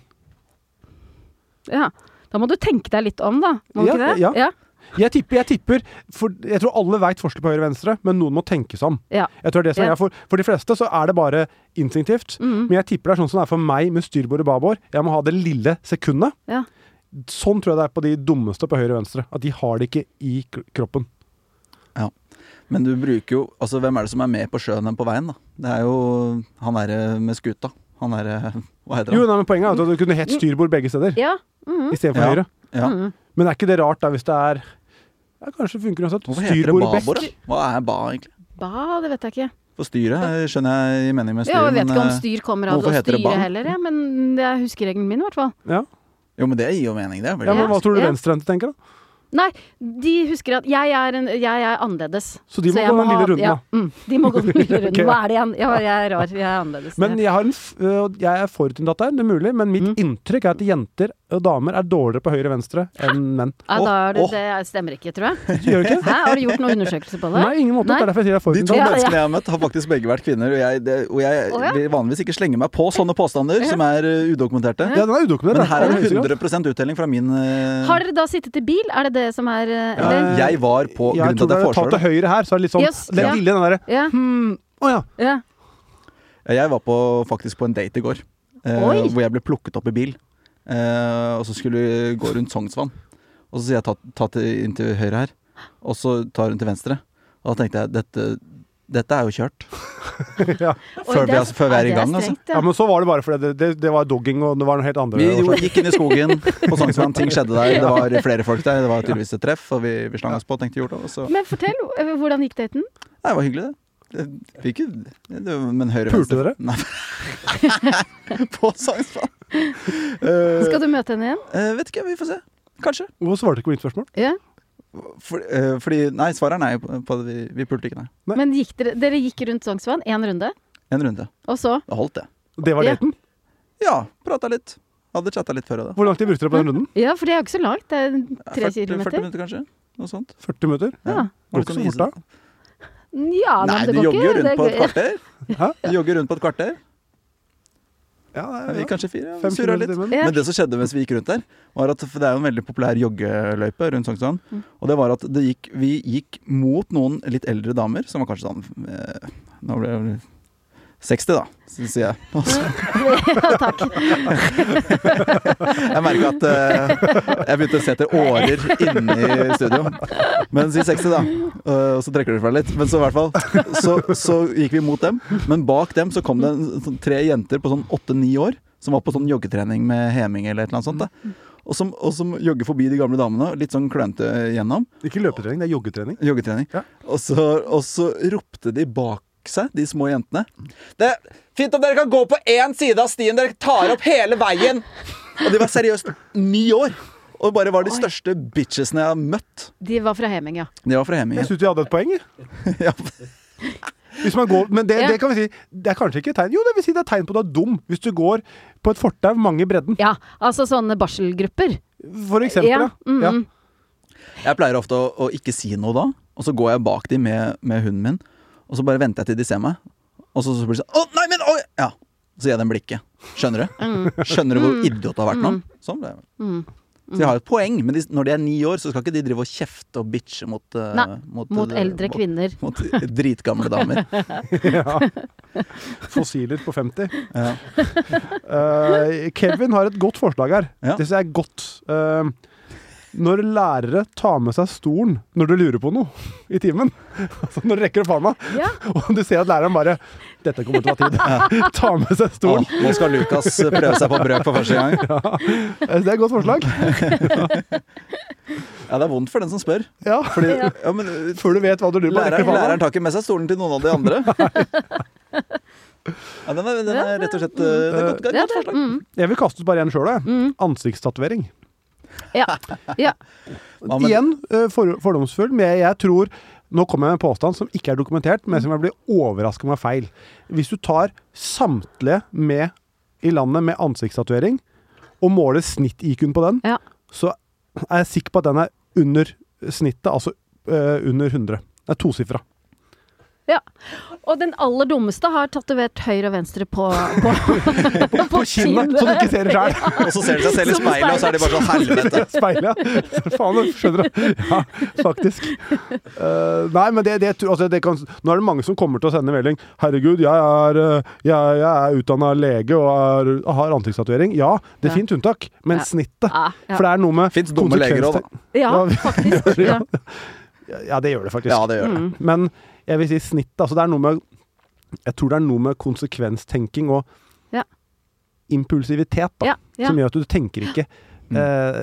D: ja. Da må du tenke deg litt om, da. Må du
C: Ja,
D: ikke det?
C: ja. Jeg tipper, jeg tipper for Jeg tror alle veit forskjell på høyre og venstre, men noen må tenke seg om.
D: Ja.
C: Jeg tror det er det som
D: Ja.
C: er for, for de fleste så er det bare instinktivt.
D: Mm.
C: Men jeg tipper det er sånn som det er for meg med styrbord og babord. Jeg må ha det lille sekundet.
D: Ja.
C: Sånn tror jeg det er på de dummeste på høyre og venstre. At de har det ikke i k- kroppen.
B: Men du bruker jo Altså, hvem er det som er med på sjøen enn på veien, da? Det er jo han derre med skuta. Han derre Hva heter
C: Jo,
B: han?
C: nei, men Poenget er at du kunne
D: Mm.
C: hett styrbord begge steder
D: Ja. Mhm.
C: istedenfor
B: Ja.
C: høyre.
B: Ja.
D: Mhm.
C: Men er ikke det rart da hvis det er ja, Kanskje funker det uansett.
B: Hvorfor heter det
C: Styrbord
B: babord?
C: bekk.
B: da? Hva er ba, egentlig?
D: Ba, det vet jeg ikke.
B: For styret eh, skjønner jeg i mening med
D: Ja,
B: styret,
D: jeg vet ikke om
B: eh,
D: styr kommer av
B: hvorfor
D: å
B: heter det
D: styre
B: ba?
D: heller, ja, men det er huskeregelen min i hvert fall.
C: Ja.
B: Jo, men det gir jo mening, det. er veldig
C: ja, men
B: bra.
C: Hva tror du
D: Ja.
C: venstrehendte tenker, da?
D: Nei, de husker at jeg er, en, jeg er annerledes.
C: Så de må
D: jeg
C: gå den lille
D: ha-
C: runden,
D: ja,
C: da.
D: Mm, de må gå den lille runden.
C: Ok,
D: Hva er det igjen? Ja, jeg er rar. Jeg er annerledes.
C: Men jeg, har en, f- øh, og jeg er forutinntatt det er mulig, men mitt
D: Mm.
C: inntrykk er at jenter og damer er dårligere på høyre og venstre enn menn.
D: ja, da er det,
B: Åh, åh.
D: det stemmer ikke, tror jeg.
C: Gjør det ikke?
D: Hæ? Har du gjort noen undersøkelser på det?
C: Nei, ingen måte. Det er derfor jeg sier jeg er
B: De to
C: forutinntatt.
D: Ja, ja.
B: menneskene jeg har møtt, har faktisk begge vært kvinner. Og jeg, det, og jeg
D: Å, ja.
B: vil vanligvis ikke slenge meg på sånne påstander som er eh, udokumenterte.
C: Ja, den er udokumentert.
B: Men her er det
C: den.
B: 100 uttelling fra min eh,
D: Har dere da sittet i bil? Er det det som er eh, Eller?
C: Eh,
B: Jeg var på
C: Ja, jeg
B: grunnen
C: tror
B: til
C: det
B: at
C: er
B: jeg
C: tatt
B: foreslår
C: til
B: det.
C: høyre her, så er det litt sånn
D: Yes,
C: Den
D: ja.
C: lille, den derre
D: Ja,
C: hmm, Å ja.
D: ja.
B: Ja, Jeg var på, faktisk på en date i går, eh,
D: Oi.
B: hvor jeg ble plukket opp i bil. Eh, og så skulle vi gå rundt Sognsvann. Og så sier jeg ta, ta til, inn til høyre her, og så tar hun til venstre. Og da tenkte jeg dette, dette er jo kjørt.
C: ja.
B: Før
D: Oi, det
B: vi er- før vi er i
D: ja, det
B: gang, altså.
D: strengt,
C: Ja, men så var det bare fordi det, det, det var dogging, og det var noe helt andre.
B: Vi jo,
C: årsaker.
B: gikk inn i skogen på Sognsvann, ting skjedde der. Det var flere folk der, det var tydeligvis et treff, og vi, vi slang oss på og tenkte gjort det. Og så Nei,
D: Men fortell, eh, hvordan gikk daten?
B: det var hyggelig, det. det fikk jo det, Men høyre
C: Pulte dere?
B: Nei. på Sognsvann. Eh,
D: Skal du møte henne igjen?
B: eh, vet ikke, vi får se. Kanskje.
C: Hvorfor svarte du ikke på mitt spørsmål?
D: Ja.
B: For, eh, fordi Nei, svaret er nei. På, på, vi vi pulte ikke, nei.
C: Nei.
D: Men gikk dere, dere gikk rundt Sognsvann én runde,
B: En runde.
D: og så
B: Det holdt, det.
C: Det var
D: Ja.
C: daten.
B: Ja, prata litt. Hadde chatta litt før og da.
C: Hvor langt de brukte dere på den runden?
D: Ja, for det er jo ikke så langt. Det er tre
B: 40,
D: kilometer.
B: minutter, kanskje? Noe sånt. sånn
C: 40 minutter?
D: Ja.
C: Går ikke så fort da?
D: Ja,
B: Nei,
D: men
B: du
D: det går
B: jogger jo
D: ikke.
B: rundt
D: Det
B: på et
D: går-
B: kvarter.
C: Hæ?
B: Du jogger rundt på et kvarter.
C: Ja,
B: Ja,
C: det
B: vi
C: er-
B: kanskje fire. Ja.
C: Fem
B: Surra
C: kilometer i
B: litt.
C: timen.
D: Ja.
B: Men det som skjedde mens vi gikk rundt der, var at for det er jo en veldig populær joggeløype rundt Sognsvann.
D: Mm.
B: Og det var at det gikk, vi gikk mot noen litt eldre damer, som var kanskje sånn eh, Nå ble jeg vel 60, da, sy- sier jeg. Og så-
D: Ja, takk.
B: Jeg merka at eh, jeg begynte å se etter årer inni studio. Men si 60, da. Eh, Og så trekker du fra litt. Men så i hvert fall så, så gikk vi mot dem. Men bak dem så kom det en, sånn, tre jenter på sånn åtte-ni år som var på sånn joggetrening med heming eller et eller annet sånt. Da. Og som, og som jogger forbi de gamle damene, litt sånn klønete gjennom.
C: Ikke løpetrening, det er joggetrening.
B: Joggetrening.
C: Ja.
B: Og, så, og så ropte de bak seg, de små jentene. Det er fint om dere kan gå på én side av stien, dere tar opp hele veien! Og de var seriøst ni år! Og bare var de største bitchesene jeg har møtt.
D: De var fra Heming, ja.
B: De var fra
C: Jeg
B: Hemingen.
C: syns vi hadde et poeng. jeg.
B: Ja.
C: Hvis man går, men det,
D: Ja.
C: det kan vi si Det er kanskje ikke et tegn Jo, det vil si det er et tegn på at du er dum. Hvis du går på et fortau mange i bredden,
D: Ja, altså sånne barselgrupper.
C: for eksempel.
D: Ja,
C: Ja.
D: mm,
C: Ja.
D: mm.
B: Jeg pleier ofte å, å ikke si noe da, og så går jeg bak dem med, med hunden min, og så bare venter jeg til de ser meg, og så, så blir det sånn Å, nei, men oi! Ja. Så gir jeg dem blikket. Skjønner du? Skjønner du hvor idiot det har vært nå? Sånn ble det.
D: Mm.
B: Så de har jo et poeng, men de, når de er ni år, så skal ikke de drive og kjefte og bitche mot eh,
D: Nei, Mot
B: eh,
D: eldre
B: mot-
D: kvinner.
B: Mot dritgamle damer.
C: Fossiler på 50.
B: Ja.
C: Eh, Kevin har et godt forslag her.
B: Ja.
C: Det synes jeg er godt. Eh, Når lærere tar med seg stolen når du lurer på noe i timen altså Når du rekker opp hånda,
D: Ja.
C: og du ser at læreren bare 'Dette kommer til å ta tid'. Ta med seg
B: Å,
C: stolen.
B: nå skal Lukas prøve seg på brøk for første gang.
C: Jeg synes Eh, Det er et godt forslag.
B: Ja, Det er vondt for den som spør.
C: Ja,
B: Fordi,
D: Ja.
B: ja, men,
C: Før du vet hva du lurer på. rekker
B: læreren,
C: opp hånda.
B: læreren tar ikke med seg stolen til noen av de andre. Ja, den, er, den er rett og slett eh, Det er godt, det er
D: Ja,
B: godt
D: det,
B: forslag.
D: mm,
C: Jeg vil kaste ut bare en sjøl, jeg.
D: mm,
C: Ansiktstatovering.
D: ja. mm, ja.
B: Hva med-
C: Igjen eh, for, fordomsfull, men jeg tror Nå kommer jeg med en påstand som ikke er dokumentert, men som jeg blir overraska om er feil. Hvis du tar samtlige med i landet med ansiktstatovering, og måler snitt-IQ-en på den,
D: Ja.
C: så er jeg sikker på at den er under snittet, altså eh, under 100. Det er tosifra.
D: Og den aller dummeste har tatovert høyre og venstre på, på, på,
C: På kinnet, så du ikke ser det sjøl!
B: Og så ser de seg selv i
D: Som
B: speilet, og så er de bare sånn helvete.
C: Speilet. Faen, jeg skjønner du? Ja, faktisk. Eh, nei, men det, det, tror- altså, det kan, nå er det mange som kommer til å sende melding. 'Herregud, jeg er, eh, jeg, jeg er utdanna lege og er, har ansiktstatovering.' Ja, det er
D: Ja.
C: fint unntak, men
D: Ja.
C: snittet
D: Ja, ja.
C: For det er noe med
B: Fins dumme leger òg, da.
D: ja,
C: Ja, vi-
D: faktisk. Ja.
C: Ja, det gjør det faktisk.
B: Ja, det gjør det.
D: Mm.
C: Men jeg vil si snittet. Altså, det er noe med Jeg tror det er noe med konsekvenstenking og
D: Ja.
C: impulsivitet, da.
D: Ja, ja.
C: som gjør at du tenker ikke.
B: Mm.
C: Eh,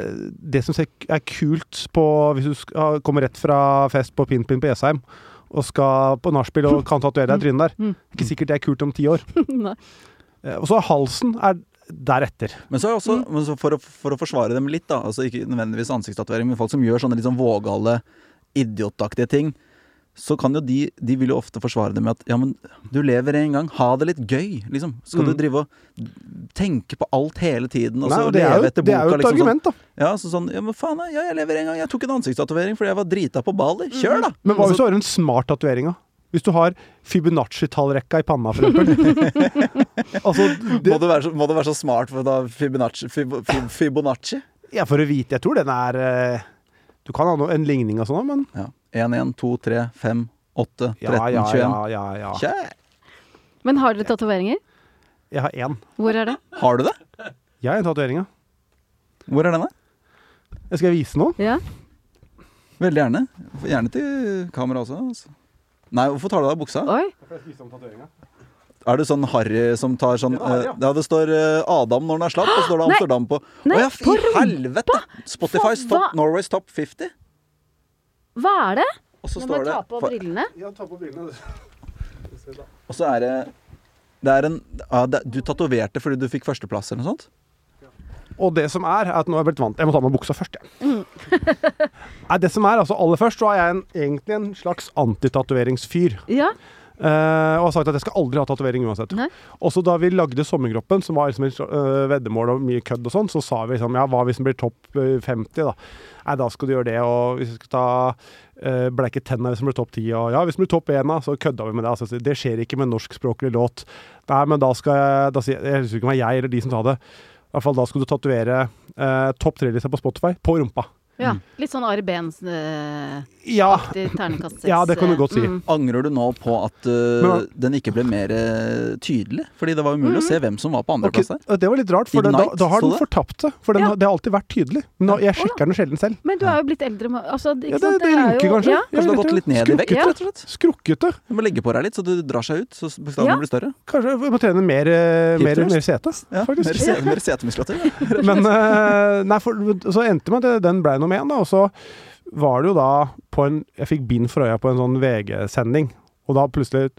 C: det som ser- er kult på, hvis du skal, kommer rett fra fest på Pinpin på Jessheim og skal på nachspiel og kan tatovere deg i trynet der,
D: Mm.
C: ikke sikkert det er kult om ti år.
D: Nei.
C: Eh, og så halsen er deretter.
B: Men så er det også,
C: Mm.
B: men så for, å, for å forsvare dem litt, da, altså ikke nødvendigvis ansiktstatovering, men folk som gjør sånne litt sånn vågale, idiotaktige ting, så kan jo de De vil jo ofte forsvare det med at ja, men du lever en gang, ha det litt gøy, liksom. Skal du
C: Mm.
B: drive og tenke på alt hele tiden, og
C: Nei,
B: så
C: og det, er
B: leve
C: jo,
B: etter boka,
C: det er jo et
B: liksom? Sånn,
C: argument, da.
B: ja, så sånn Ja, men faen, ja, jeg lever en gang, jeg tok en ansiktstatovering fordi jeg var drita på Bali.
C: Mm.
B: Kjør, da!
D: Mm.
C: Men hva
B: Og
D: Altså
C: hvis du har en smart tatovering, da? Hvis du har Fibonacci-tallrekka i panna, for eksempel. altså,
B: må,
C: det,
B: du være så, må du være så smart for å ta Fibonacci? Fib, fib, Fibonacci?
C: ja, for å vite Jeg tror den er eh, Du kan ha noe, en ligning og sånn, men
B: Ja. 1, 1, 2, 3, 5, 8, 13,
C: ja, ja,
B: 21.
C: ja, ja, ja.
B: Kjæ.
D: Men har dere tatoveringer?
C: Jeg har én.
D: Hvor er det?
B: Har du det?
C: Jeg har en tatovering, ja.
B: Hvor er den, da?
C: Jeg skal vise noe.
D: Ja.
B: Veldig gjerne. Gjerne til kamera også. Altså. Nei, hvorfor tar du av deg buksa?
D: Oi.
B: Er du sånn harry som tar sånn
C: var harry,
B: eh, Ja, det står eh, Adam når den er slapp, og så står det
D: Nei.
B: Amsterdam på. Å
D: Nei,
B: ja,
D: på
B: fy helvete! Spotify's
D: Faen,
B: top,
D: hva?
B: Norway's top 50.
D: Hva er det?
B: Og så
D: Nå må
B: står
D: jeg
B: det
D: ta på
B: for-
D: brillene.
B: Og så er det det er en, ja, det, Du tatoverte fordi du fikk førsteplass eller noe sånt?
C: Og det som er, er at nå er jeg blitt vant Jeg må ta med buksa først, jeg. Nei, det som er, altså aller først, så er jeg en, egentlig en slags antitatoveringsfyr.
D: Ja.
C: Eh, og har sagt at jeg skal aldri ha tatovering uansett.
D: Nei.
C: Også da vi lagde Sommerkroppen, som var liksom et eh, veddemål og mye kødd og sånn, så sa vi liksom ja, hva hvis den blir topp eh, 50, da? Nei, da skal du gjøre det, og hvis du skal ta uh, bleike tenna hvis den blir topp 10, og ja, hvis den blir topp 1, da, så kødda vi med det. Altså, det skjer ikke med norskspråklig låt. Nei, men da skal jeg da sier, Jeg husker ikke om det var jeg eller de som sa det. I hvert fall da skal du tatovere eh, topp tre-lista på Spotify på rumpa.
D: ja.
C: Mm.
D: Litt sånn Ari eh, Behns-aktig
C: Ja!
D: terningkast seks.
C: Ja, det kan du godt si.
D: Mm.
B: Angrer du nå på at eh,
C: Men-
B: den ikke ble mer eh, tydelig? Fordi det var umulig å
D: Mm.
B: se hvem som var på
C: Ok,
B: andreplass der.
C: det var litt rart, for
B: Steve
C: det, da,
B: Knight,
C: da har
B: så
C: den
B: det?
C: fortapt det. For den,
D: Ja.
C: har- det har alltid vært tydelig. Men nå, jeg sjekker den sjelden selv.
D: Men du er jo blitt eldre. men- Altså, ikke
C: Ja, det,
D: sant?
C: det
D: er
C: rynker
D: jo-
C: kanskje.
D: Ja.
C: Ja,
B: Kanskje det har
C: vet
B: gått
C: du.
B: litt ned i vekt,
D: Ja.
B: rett og slett?
C: Skrukkete.
B: Du må legge på deg litt, så du drar seg ut. Så bestanden
D: Ja.
B: blir større.
C: Kanskje vi må trene mer, eh, mer,
B: Hipsters.
C: mer sete,
B: Ja, mer,
C: faktisk.
B: se, mer setemuskulatur.
C: Men eh, nei, for, så endte det med at den ble nummer én, da. Og så var det jo da på en Jeg fikk bind for øya på en sånn VG-sending, og da plutselig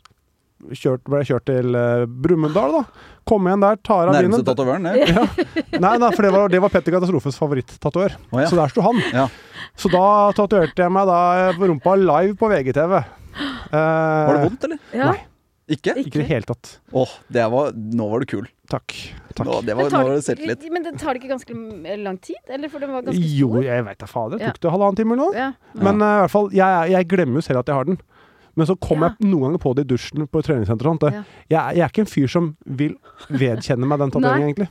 C: kjørt, ble jeg kjørt til eh, Brumunddal, da. Kom igjen der, tar av
B: Nærmeste
C: bindet.
B: tatovøren, det.
C: Ja. Nei, nei, for det var, det var Petter Katastrofes favoritt-tatover.
B: Å, ja.
C: Så der sto han.
B: Ja.
C: Så da tatoverte jeg meg da eh, på rumpa live på VGTV.
B: Var det vondt, eller?
D: Ja.
C: Nei.
B: Ikke?
D: Eh, Ikke.
C: Ikke i det hele tatt.
B: Åh, det var, nå var du kul.
C: Takk. Takk.
B: Nå, det var,
D: Men
B: nå
D: tar
B: var
D: det-
B: det selvtillit.
D: Men det tar det ikke ganske m- lang tid? Eller for den var ganske
C: Jo,
D: stor?
C: jeg veit da fader.
D: Ja.
C: Tok det halvannen time eller noe?
D: Ja.
C: Men eh, i hvert fall, jeg, jeg glemmer jo selv at jeg har den. Men så kom
D: Ja.
C: jeg noen ganger på det i dusjen på et treningssenter. og sånt. eh,
D: Ja.
C: Jeg, jeg er ikke en fyr som vil vedkjenne meg den
D: Nei.
C: tatoveringen, egentlig.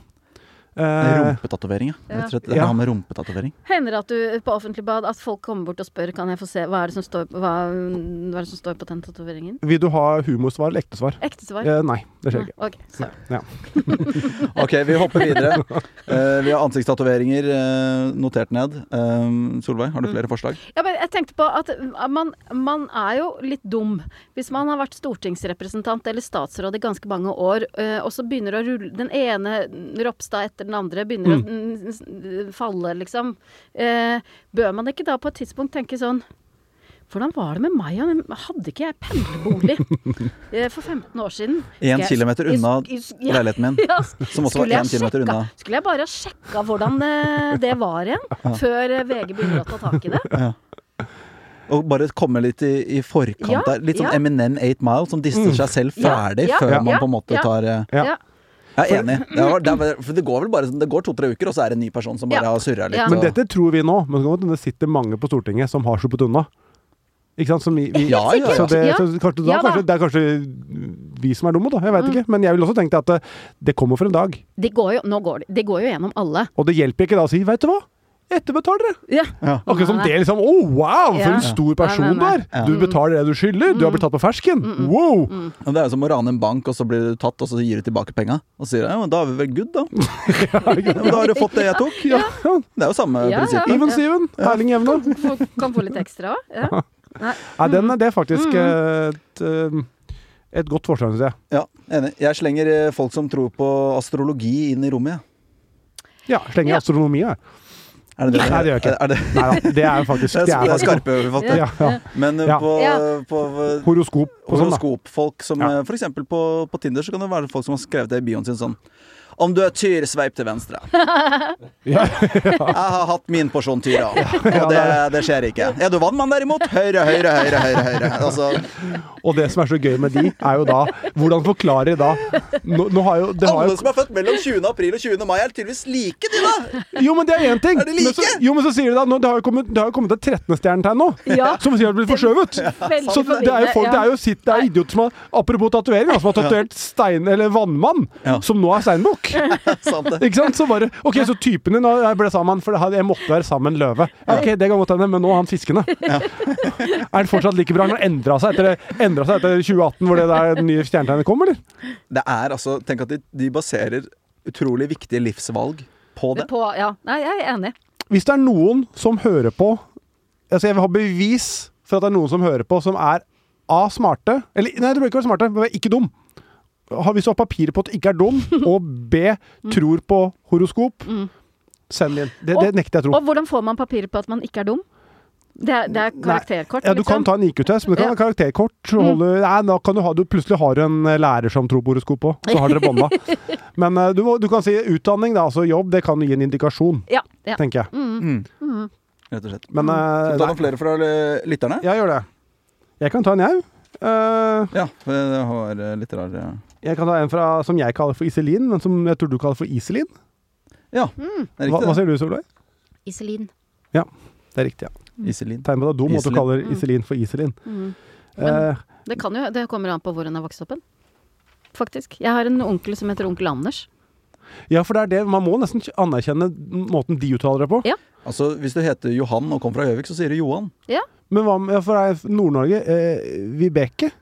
C: Eh,
B: Rumpetatovering, ja.
D: Ja.
B: Rett og slett. Det
C: Ja.
B: har med rumpetatovering.
D: Hender det at du på offentlig bad at folk kommer bort og spør Kan jeg få se hva er det som står, hva, hva er det som står på den tatoveringen?
C: vil du ha humorsvar eller ekte svar?
D: Ekte svar?
C: Eh, nei, det skjer ikke.
D: Ok, så.
B: Ok, vi hopper videre. Eh, vi har ansiktstatoveringer eh, notert ned. Eh, Solveig, har du flere forslag?
D: Ja, men jeg tenkte på at man, man er jo litt dum hvis man har vært stortingsrepresentant eller statsråd i ganske mange år, eh, og så begynner å rulle Den ene Ropstad etter den andre begynner å mm, s- falle, liksom. Eh, bør man ikke da på et tidspunkt tenke sånn hvordan var det med meg? ja? Hadde ikke jeg pendlerbolig eh, for 15 år siden?
B: Én
D: Skal jeg-
B: kilometer unna
D: I- i- ja.
B: leiligheten min.
D: Ja,
B: Som også var
D: skulle jeg
B: én kilometer
D: sjekka-
B: unna.
D: Skulle jeg bare ha sjekka hvordan eh, det var igjen, før eh, VG begynner å ta tak i det?
B: Og bare komme litt i, i forkant
D: Mm. Ja,
B: der. Litt som
D: ja. Mm.
B: Eminem 8 Mile, som disser seg selv
D: Ja,
B: ferdig
D: ja,
B: før
D: ja,
B: man på en måte
D: ja.
B: tar eh,
C: Ja.
D: Ja.
B: Jeg er enig. Det, var, det, er, for det går vel bare sånn- Det går to-tre uker, og så er det en ny person som bare
D: Ja.
B: har surra litt.
D: Ja.
B: og-
C: Men dette tror vi nå. Men så kan det godt hende det sitter mange på Stortinget som har sluppet unna. Ikke sant? Som vi, vi,
B: Ja, ja, ja.
C: Så, det,
D: Ja.
C: så kanskje, da,
D: Ja da. Mm.
C: kanskje, det er kanskje vi som er dumme, da. Jeg veit ikke. Men jeg vil også tenke at det, det kommer for en dag.
D: De går jo, nå går de, de går jo gjennom alle.
C: Og det hjelper ikke da å si 'veit du hva, etterbetaler dere'.
D: Ja.
B: Ja.
C: Akkurat som
D: Nei.
C: det liksom Å, wow, for
D: Ja.
C: en stor person
D: Nei, Mm.
C: du
D: nei,
C: er! Du betaler det du skylder. Du har blitt tatt på fersken. Wow!
D: Mm.
B: Men Det er jo som å rane en bank, og så blir du tatt, og så gir du tilbake penga. Og så sier du ja, men da er vi vel good, da. Ja, men da har du fått det jeg tok.
C: Ja.
B: Det er jo samme
D: Ja, ja.
B: prinsipp.
C: Even Steven, Erling Jevne.
D: Folk kan få litt ekstra òg. Ja.
C: Nei, den er det er faktisk
D: Mm.
C: eh, et, eh, et godt forslag, syns jeg.
B: Ja, enig. Jeg slenger eh, folk som tror på astrologi inn i rommet, jeg.
C: Ja, slenger
D: Ja.
C: astronomi, jeg.
B: Er det det?
C: Nei, det gjør jeg ikke.
B: Er det,
C: Nei da, det er faktisk
B: det
C: det
B: er,
C: er
B: det er
C: faktisk,
B: skarpe overfatter.
C: ja, ja.
B: Men eh,
C: Ja.
B: på,
D: Ja.
B: på eh,
C: Horoskop og sånn, da.
B: horoskopfolk som
C: Ja.
B: eh, For eksempel på, på Tinder så kan det være folk som har skrevet det i bioen sin sånn om du er tyr, sveip til venstre.
C: Ja.
B: Jeg har hatt min porsjon tyr av, og det, det skjer ikke. Er du vannmann derimot? Høyre, høyre, høyre, høyre. høyre. Altså,
C: Og det som er så gøy med de, er jo da Hvordan forklarer de da Nå, nå har jo, det har
B: alle
C: jo
B: som er født mellom 20. april og 20. mai, er tydeligvis like, de, da!
C: Jo, men det er én ting!
B: Er de like?
C: Men så, jo, men så sier de da nå, Det har jo kommet, det har jo kommet et 13. stjernetegn nå,
D: Ja.
C: som sier at det blir forskjøvet!
D: Veldig
C: Så det er jo folk, det er jo sitt, det er idioter som har Apropos tatovering, da, som har tatovert stein... Eller vannmann,
B: Ja.
C: som nå er steinbukk.
B: Sant det.
C: Ikke sant? Så bare OK, så typen din og jeg ble sammen, for det hadde- jeg måtte være sammen løve. Ja, OK, det kan godt hende, men nå er han fiskende. er han fortsatt like bra? Han har endra seg etter, det- endret seg etter 2018, hvor det der nye stjernetegnet kom, eller?
B: Det er altså Tenk at de, de baserer utrolig viktige livsvalg på det.
D: På, ja. Nei, jeg er enig.
C: Hvis det er noen som hører på Altså, jeg vil ha bevis for at det er noen som hører på, som er A. smarte Eller nei, du bør ikke være smarte, men ikke dum. Ha- Hvis du har papirer på at du ikke er dum, og B. tror på horoskop, send inn. Det, det
D: Og-
C: nekter jeg å tro.
D: Og hvordan får man papirer på at man ikke er dum? Det er, det er karakterkort, liksom.
C: Ja, du kan ta en IQ-test, men det kan
D: Ja. Mm.
C: være karakterkort. så holder- Nei, da kan du ha, du plutselig har du en eh, lærer som tror på horoskop òg, så har dere bånda. Men eh, du, må- du kan si utdanning, da, altså jobb, det kan gi en indikasjon,
D: Ja, ja. Mm.
C: tenker jeg.
B: Rett og slett.
C: Men eh,
B: Skal vi ta
C: nei,
B: noen flere fra eh, lytterne?
C: jeg gjør det. Jeg kan ta en, jeg. Eh,
B: Ja, for jeg har eh, litt rar eh,
C: jeg kan ta en fra, som jeg kaller for Iselin, men som jeg tror du kaller for Iselin.
B: Ja, det
D: Mm.
B: er
C: Hva, hva
B: riktig. det.
C: sier du, Solveig?
D: Iselin.
C: Det er riktig, ja.
B: Iselin.
C: Tegn på at det er dum at du
B: Iselin.
C: kaller
D: Mm.
C: Iselin for Iselin. Eh,
D: Det, kan jo, det kommer an på hvor hun har vokst opp hen. Faktisk. Jeg har en onkel som heter onkel Anders.
C: ja, for det er det. Man må nesten anerkjenne måten de uttaler det på.
B: Altså, Hvis du heter Johan og kommer fra Gjøvik, så sier du Johan.
C: Men hva med for deg, Nord-Norge? Eh, Vibeke?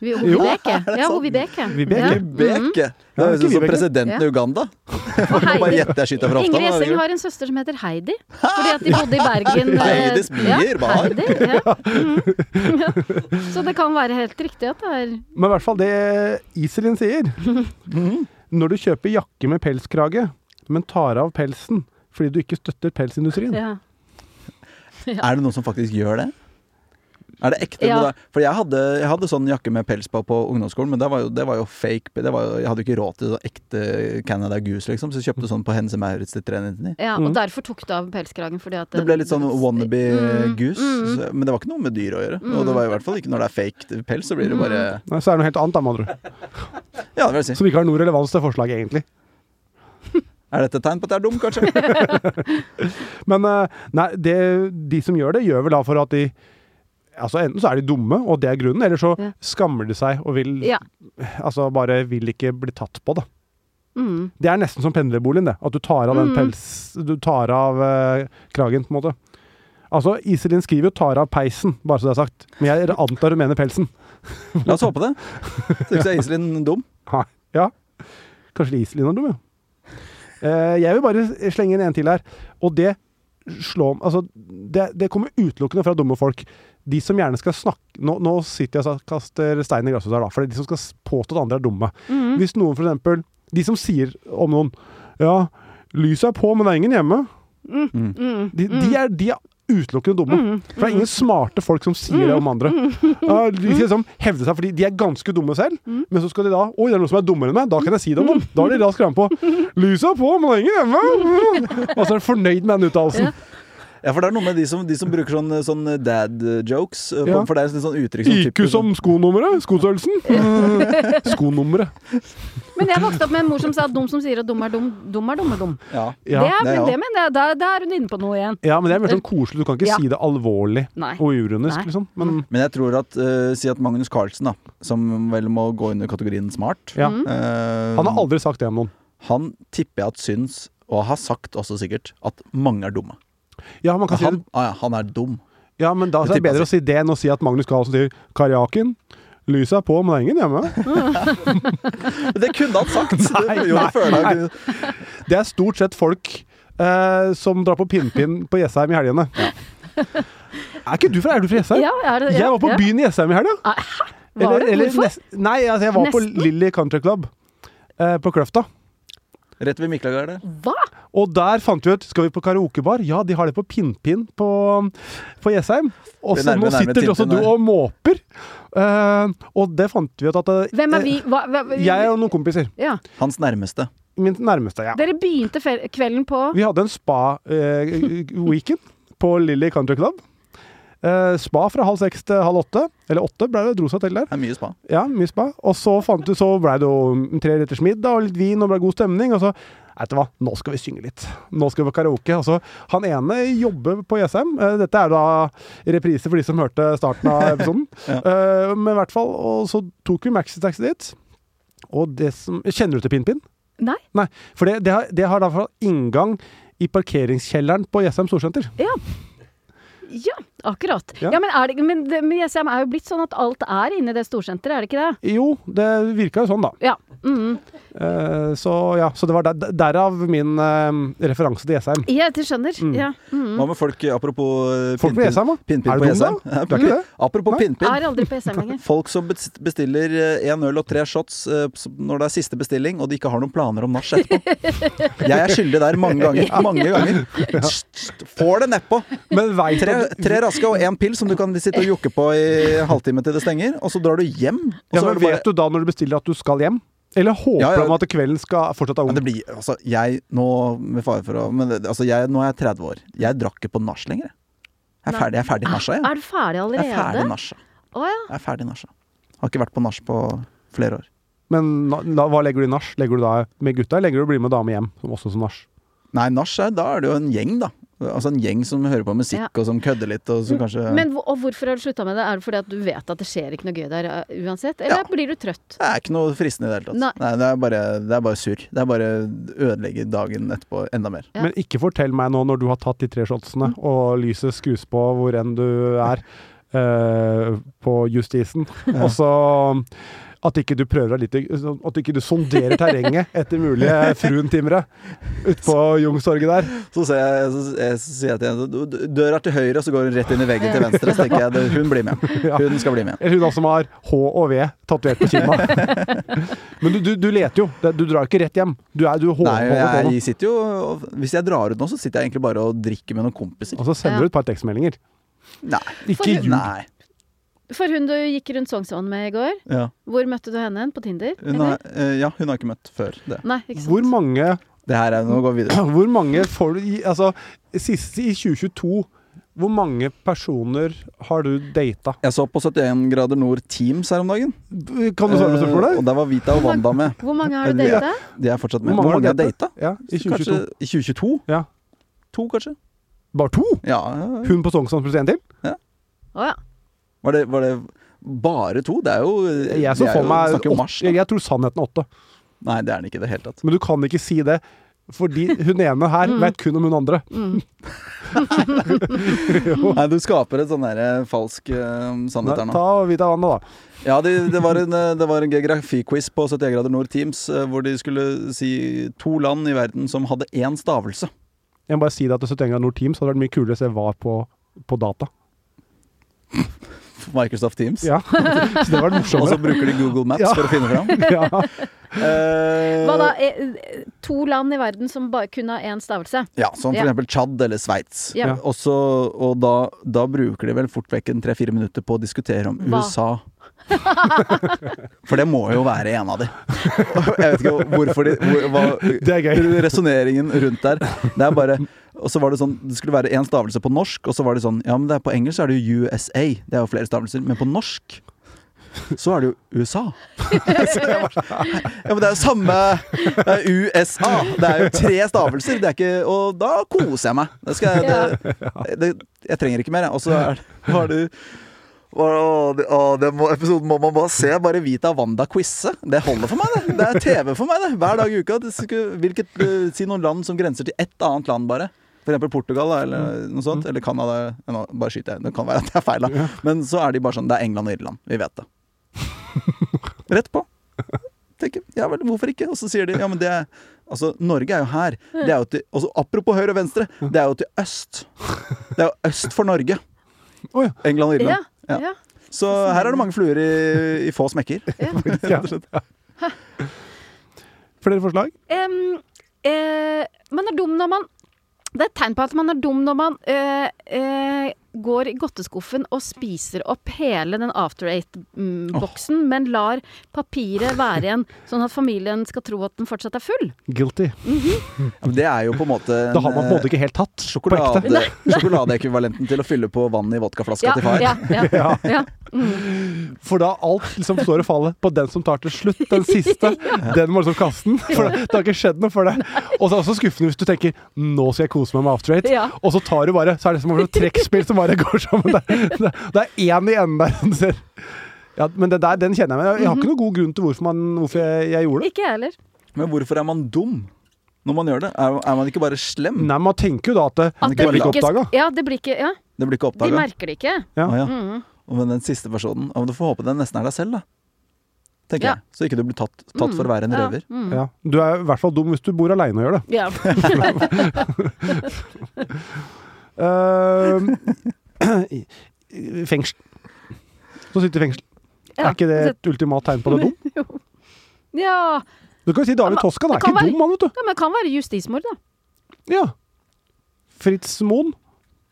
D: Vi- Hovibeke. Ja, Mhm. Hovibeke.
C: Vibeke.
B: Vibeke! Det
C: Ja,
B: høres
C: ikke
B: ut som
C: Vibeke.
B: presidenten i
D: Ja.
B: Uganda.
D: Og
B: Må Bare
D: Heidi.
B: gjette jeg skyter fra hofta.
D: Ingrid
B: da,
D: Essing
B: herregud.
D: har en søster som heter Heidi, fordi at de bodde i Bergen. eh,
B: Heidi Spier, hva har-
D: Heidi, ja. Mm. Ja. Så det kan være helt riktig at det er
C: Men i hvert fall det Iselin sier. Når du kjøper jakke med pelskrage, men tar av pelsen fordi du ikke støtter pelsindustrien.
D: ja.
B: Er det noen som faktisk gjør det? Er det ekte?
D: Ja.
B: For jeg hadde, jeg hadde sånn jakke med pels på på ungdomsskolen, men det var jo, det var jo fake. Det var jo, jeg hadde jo ikke råd til sånn ekte Canada Goose, liksom, så jeg kjøpte sånn på Hense Maurits til 399.
D: ja, og derfor tok du av pelskragen. Fordi at
B: Mm. Det ble litt sånn wannabe
D: Mm,
B: goose,
D: mm.
B: så- men det var ikke noe med dyr å gjøre. Og det var i hvert fall ikke når det er fake pels, så blir det bare
D: Mm.
C: Nei, Så er det noe helt annet, da, med andre ord.
B: Ja, det vil jeg si.
C: Som ikke har noe relevans til forslaget, egentlig.
B: Er dette et tegn på at jeg er dum, kanskje?
C: Men eh, nei, det, de som gjør det, gjør vel da for at de Altså Enten så er de dumme, og det er grunnen, eller så
D: Ja.
C: skammer de seg og vil
D: Ja.
C: Altså bare vil ikke bli tatt på, da.
D: Mm.
C: Det er nesten som pendlerboligen, det. At du tar av den
D: Mm.
C: pels... Du tar av eh, kragen, på en måte. Altså, Iselin skriver jo 'tar av peisen', bare så det er sagt. Men jeg antar hun mener pelsen.
B: La oss håpe det. Syns jeg Iselin dum.
C: Ha, ja. Kanskje det er Iselin er dum, ja. Eh, jeg vil bare slenge inn en til her. Og det slår Altså, det, det kommer utelukkende fra dumme folk. De som gjerne skal snakke Nå, nå sitter jeg og kaster stein i glasshus her, da. For det er de som skal s- påstå at andre er dumme.
D: Mm.
C: Hvis noen for eksempel De som sier om noen Ja, lyset er på, men det er ingen hjemme.
D: Mm.
C: De, de, er, de er utelukkende dumme.
D: Mm.
C: For det er ingen smarte folk som sier det om andre. Ja, De skal liksom hevde seg fordi de er ganske dumme selv,
D: Mm.
C: men så skal de da Oi, det er noen som er dummere enn meg, da kan jeg si det om dem. Da er de raskt framme på. Lyset er på, men det er ingen hjemme. Og så er de fornøyd med den uttalelsen.
B: Ja, for det er noe med de som, de som bruker sånn, sånn dad-jokes. eh,
C: Ja.
B: For det er et sånn uttrykk som
C: IQ
B: typisk-
C: som skonummeret. Skostørrelsen. Skonummeret.
D: Men jeg vokste opp med en mor som sa at dum som sier at dum er dum, dum er dum er dum.
B: sånn- Ja.
D: det
C: Ja.
B: det
D: er,
B: er
D: men
B: ja.
D: det mener jeg, da, da er hun inne på noe igjen.
C: ja, men det er mer sånn koselig. Du kan ikke
D: Ja.
C: si det alvorlig
D: Nei.
C: og uironisk,
D: Nei. Mm.
C: liksom. Men
B: Men jeg tror at eh, Si at Magnus Carlsen, da, som vel må gå under kategorien smart
C: ja.
D: Mm.
B: eh,
C: Han har aldri sagt det om noen.
B: han tipper jeg at syns, og har sagt også sikkert, at mange er dumme.
C: Ja, man kan si
B: Han,
C: det.
B: ah, ja, han er dum.
C: Ja, men da
B: Det
C: er det
B: tipper
C: bedre
B: jeg
C: å si det enn å si at Magnus Carlsen sier 'Karjaken'. Lyset er på, men det er ingen hjemme.
B: Det kunne han sagt!
C: Nei,
B: det, jo,
C: nei,
B: det føler jeg ikke.
C: Det er stort sett folk eh, som drar på pinnpinn på Jessheim i helgene. Er ikke du fra, er du fra Jessheim?
D: Ja, er det, ja,
C: Jeg var på
D: ja.
C: byen i Jessheim i helga.
D: Ah, Var du? Hvorfor?
C: nes- nei, altså, jeg var
D: Nesten?
C: på Lilly Country Club eh, på Kløfta.
B: Rett ved Miklagard, det.
D: Hva?
C: Og der fant vi ut Skal vi på karaokebar? Ja, de har det på Pinnpinn på, på Jessheim. Og
B: Det
C: så
B: er nærme,
C: nå
B: nærme
C: sitter
B: Pinnpinn
C: også du
B: her.
C: og måper. Eh, og det fant vi ut at eh,
D: Hvem er vi? Hva, hva,
C: Jeg og noen kompiser.
D: ja.
B: Hans nærmeste.
C: Min nærmeste, ja.
D: Dere begynte fe- kvelden på
C: Vi hadde en spa-weekend på Lilly Country Club. Eh, spa fra halv seks til halv åtte. Eller åtte ble det, dro seg til der.
B: Det er mye spa.
C: Ja, mye spa. Og så fant du, så ble det jo tre retters middag og litt vin og ble god stemning. Og så Vet du hva, nå skal vi synge litt. Nå skal vi på karaoke. Og så, han ene jobber på Jessheim. Eh, Dette er da reprise for de som hørte starten av episoden. Eh, Men i hvert fall, og så tok vi maxitaxi dit. Og det som Kjenner du til Pin Pin?
D: Nei.
C: Nei, for det, det, har, det har i hvert fall inngang i parkeringskjelleren på Jessheim Storsenter.
D: Ja, akkurat.
C: Ja.
D: Ja, men, er det, men, det, men Jessheim er jo blitt sånn at alt er inne i det storsenteret, er det ikke det?
C: Jo, det virka jo sånn, da.
D: Ja. Mm.
C: Eh, så ja, så det var der, derav min eh, referanse til Jessheim.
D: Ja, jeg skjønner. Ja. Mm.
B: Hva med folk Apropos eh,
C: Folk på
B: pinnpinn-
C: Jessheim, da?
B: pinnpinn
C: Er du dum,
B: på
C: da?
B: Jessheim. Ja,
C: Du er ikke det?
B: Apropos
C: Nei.
B: pinnpinn.
D: Er aldri på Jessheim lenger.
B: Folk som bes- bestiller én øl og tre shots eh, s- når det er siste bestilling, og de ikke har noen planer om nach etterpå. Jeg er skyldig der mange ganger. Mange ganger. Sst, sst, Får det nedpå.
C: Men veit
B: Tre,
C: at-
B: tre raske og én pils som du kan sitte og jokke på i halvtime til det stenger, og så drar du hjem. Og
C: ja,
B: så
C: men
B: er det bare
C: Vet du da når du bestiller at du skal hjem? Eller håper
B: Ja, ja.
C: om at kvelden skal fortsatt ha
B: Men
C: ung?
B: det blir, altså, jeg, nå, med fare for å men, det- altså, jeg, nå er jeg 30 år. Jeg drakk ikke på nach lenger. jeg. Jeg er ferdig, jeg er ferdig i nasja, jeg.
D: Er du ferdig
B: Jeg er ferdig
D: allerede?
B: nasja.
D: Å ja.
B: Jeg er ferdig nasja. Har ikke vært på nach på flere år.
C: Men na- la, hva legger du i nach? Legger du da med gutta, eller legger du å bli med dame hjem? Som også som nach?
B: Nei, nach er da er det jo en gjeng, da. Altså en gjeng som hører på musikk
D: Ja.
B: og som kødder litt, og som kanskje
D: Men hvor- og hvorfor har du slutta med det? Er det fordi at du vet at det skjer ikke noe gøy der eh, uansett? Eller
B: Ja.
D: blir du trøtt?
B: Det er ikke noe fristende i det hele tatt.
D: Nei.
B: Nei, det, er bare, det er bare surr. Det er bare ødelegge dagen etterpå enda mer.
D: Ja. Mm.
C: Men ikke fortell meg nå når du har tatt de tre shotsene, og lyset skrus på hvor enn du er eh, på justisen, og så at ikke du prøver deg litt At ikke du sonderer terrenget etter mulige fruentimere utpå Youngstorget der.
B: Så ser jeg, så, jeg, så sier jeg til henne "Du- du- Døra til høyre, og så går hun rett inn i veggen til venstre. Så tenker jeg "Det- hun blir med.
C: Ja.
B: Hun skal bli med.
C: Eller hun da som har H og V tatovert på kinna. Men du, du, du leter jo. Det- Du drar jo ikke rett hjem. Du, er, du holder
B: Nei,
C: holder på
B: jeg,
C: nå.
B: jeg sitter jo og- Hvis jeg drar ut nå, så sitter jeg egentlig bare og drikker med noen kompiser.
C: Og så sender du et par tekstmeldinger.
B: Nei.
D: For-
C: Ikke ljug.
B: Nei.
D: For hun du gikk rundt Sognsvann med i går,
B: Ja.
D: hvor møtte du henne hen? På Tinder?
B: Hun,
D: eller?
B: har, eh, ja, hun har ikke møtt før det.
D: Nei, ikke sant.
C: Hvor mange,
B: Det her er Nå går vi videre.
C: hvor mange får du i Altså, siste i 2022 hvor mange personer har du data?
B: Jeg så på 71 grader nord Teams her om dagen.
C: Kan du svare på
B: Eh,
C: spørsmålet?
B: Og der var Vita og Wanda med.
D: Hvor mange har du
B: Ja.
D: data?
B: De er fortsatt med.
C: Hvor mange har
B: har
C: data?
B: data?
C: Ja, i 2022.
B: Kanskje I 2022?
C: Ja.
B: To, kanskje?
C: Bare to?
B: Ja. ja, ja.
C: Hun på Sognsvann pluss en til?
D: Å ja.
B: Var det, var det bare to? Det er jo
C: Jeg så
B: det er
C: for
B: jo-
C: meg
B: Snakker jo
C: åtte-
B: mars, da.
C: Jeg tror sannheten er åtte.
B: Nei, det er den ikke i det hele tatt.
C: Men du kan ikke si det, fordi hun ene her
D: Mm.
C: vet kun om hun andre.
D: Mm.
B: Nei, du skaper et sånn der falsk eh, sannhet her nå.
C: Ta og Vita Wanda, da.
B: Ja, det, det var en, eh, det var en geografiquiz på 71 grader nord Teams eh, hvor de skulle si to land i verden som hadde én stavelse.
C: Jeg må bare si det at det 71 grader nord Teams hadde vært mye kulere hvis jeg var på, på data.
B: Microsoft Teams.
C: Ja. Så det hadde vært
B: Og så
C: morsommere.
B: bruker de Google Maps
C: Ja.
B: for å finne fram.
C: Ja.
B: Eh,
D: Hva da? eh, To land i verden som bare kunne ha én stavelse?
B: Ja, som for
D: Ja.
B: eksempel Tsjad eller Sveits.
D: Ja.
B: Og så- og da, da bruker de vel fort vekk en tre-fire minutter på å diskutere om
D: Hva?
B: USA. For det må jo være en av de. Jeg vet ikke hvorfor de hvor, hva,
C: Det er gøy.
B: resonneringen rundt der. Det er bare Og så var det sånn Det skulle være én stavelse på norsk, og så var det sånn Ja, men det er på engelsk så er det jo USA. Det er jo flere stavelser. Men på norsk så er det jo USA. Så jeg var sånn, ja, men det er jo samme Det er USA. Det er jo tre stavelser. Det er ikke Og da koser jeg meg. Det skal jeg det, det, Jeg trenger ikke mer, jeg. Og så er det Har du Åh, det- åh, den må, episoden må man bare se. Bare Vita Wanda quize. Det holder for meg, det. Det er TV for meg, det. Hver dag i uka. Det skulle, hvilket, eh, si noen land som grenser til ett annet land, bare. For eksempel Portugal da, eller
C: Mm.
B: noe sånt. Eller Canada. Nå bare skyter jeg. Det kan være at det er feil, da. Men så er de bare sånn Det er England og Irland. Vi vet det. Rett på. Tenker, ja vel, hvorfor ikke? Og så sier de ja, men det er Altså, Norge er jo her. Det er jo til, også, apropos høyre og venstre, det er jo til øst. Det er jo øst for Norge.
C: Å ja.
B: England og Irland.
D: Ja.
B: Ja.
D: ja.
B: Så her er det mange fluer i, i få smekker.
C: Ja. Flere forslag?
D: Em, eh, man er dum når man Det er et tegn på at man er dum når man eh, eh, går i godteskuffen og spiser opp hele den After Eight-boksen, men lar papiret være igjen, sånn at familien skal tro at den fortsatt er full.
C: Guilty.
B: Ja, men Det er jo på en måte en, eh,
C: Da har man på en måte ikke helt tatt. På ekte.
B: sjokolade, sjokoladeekvivalenten til å fylle på vann i vodkaflaska
D: Ja,
B: til far.
D: ja, ja, ja.
C: Ja. For da alt liksom står og faller på den som tar til slutt. Den siste. Den må liksom kaste den. For det har ikke skjedd noe for deg. Og så er det også skuffende hvis du tenker 'nå skal jeg kose meg med After Eight',
D: Ja.
C: og så tar du bare Så er det som om det er et trekkspill som bare går sammen. Det, det, det er én i enden der. Du ser. Ja, men det der, den kjenner jeg meg. Jeg har ikke noen god grunn til hvorfor, man, hvorfor jeg, jeg gjorde det.
D: Ikke jeg heller.
B: Men hvorfor er man dum når man gjør det? Er, er man ikke bare slem?
C: Nei, man tenker jo da at det,
D: At
B: det
C: blir ikke
D: sk-
C: oppdaga.
D: Ja, det blir ikke, ja,
B: Det blir ikke
D: de
B: oppdaga.
D: merker Mm. det ikke.
C: Ja.
B: ja. Og Men den siste personen ja, men Du får håpe den nesten er deg selv, da. Tenker
D: Ja.
B: jeg. Så ikke du blir tatt, tatt for å være en
D: Ja.
B: røver.
D: Mm.
C: Ja. Du er i hvert fall dum hvis du bor aleine og gjør det.
D: Ja.
C: Eh, Ehm, fengsel. Så sitter i fengsel.
D: Ja. altså-
C: Er ikke det et ultimat tegn på at du er dum?
D: Jo. Ja.
C: Du kan jo si David
D: Men-
C: Toska, han er
D: det kan
C: ikke
D: være-
C: dum, han, vet du.
D: ja, men det kan være justismord, da.
C: Ja. Fritz Moen.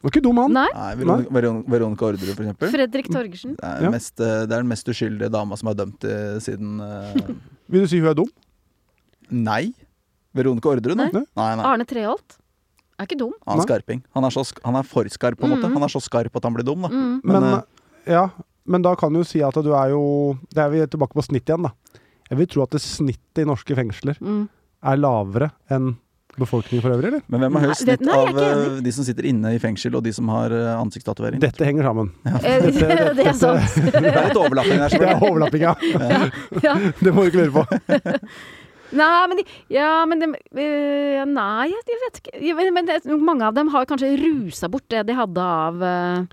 C: Han er ikke dum, han.
D: Nei?
B: Nei, Veronica, Veron- Veronica Orderud, for eksempel.
D: Fredrik Torgersen.
B: Det er,
C: Ja.
B: mest, eh, det er den mest uskyldige dama som er dømt eh, siden eh,
C: Vil du si hun er dum?
B: Nei. Veronica Orderud, nei.
C: Nei.
B: nei, nei.
D: Arne Treholt. Er ikke dum.
B: Han
C: Nei.
B: er skarping. Han er, så, sk- han er for skarp, på en måte.
D: Mhm.
B: Han er så skarp at han blir dum, da.
D: Mm.
C: Men,
B: Men, eh,
C: ja. men da kan du si at du er jo Da er vi tilbake på snitt igjen, da. Jeg vil tro at det snittet i norske fengsler
D: Mm.
C: er lavere enn befolkningen for øvrig, eller?
B: Men hvem er
D: Nei,
B: høyest
D: det-
B: snitt
D: nei, jeg er
B: av
D: ikke
B: eh, de som sitter inne i fengsel, og de som har eh, ansiktstatovering? Det
C: Dette henger sammen.
D: Eh, det er sant.
B: er litt overlapping her,
C: Det er
B: selvfølgelig.
C: overlappinga.
D: Ja.
C: Det må du ikke lure på.
D: Nei, men, de, ja, men de, eh, Nei, jeg jeg vet ikke. Ja, Men, men det, mange av dem har kanskje rusa bort det de hadde av eh,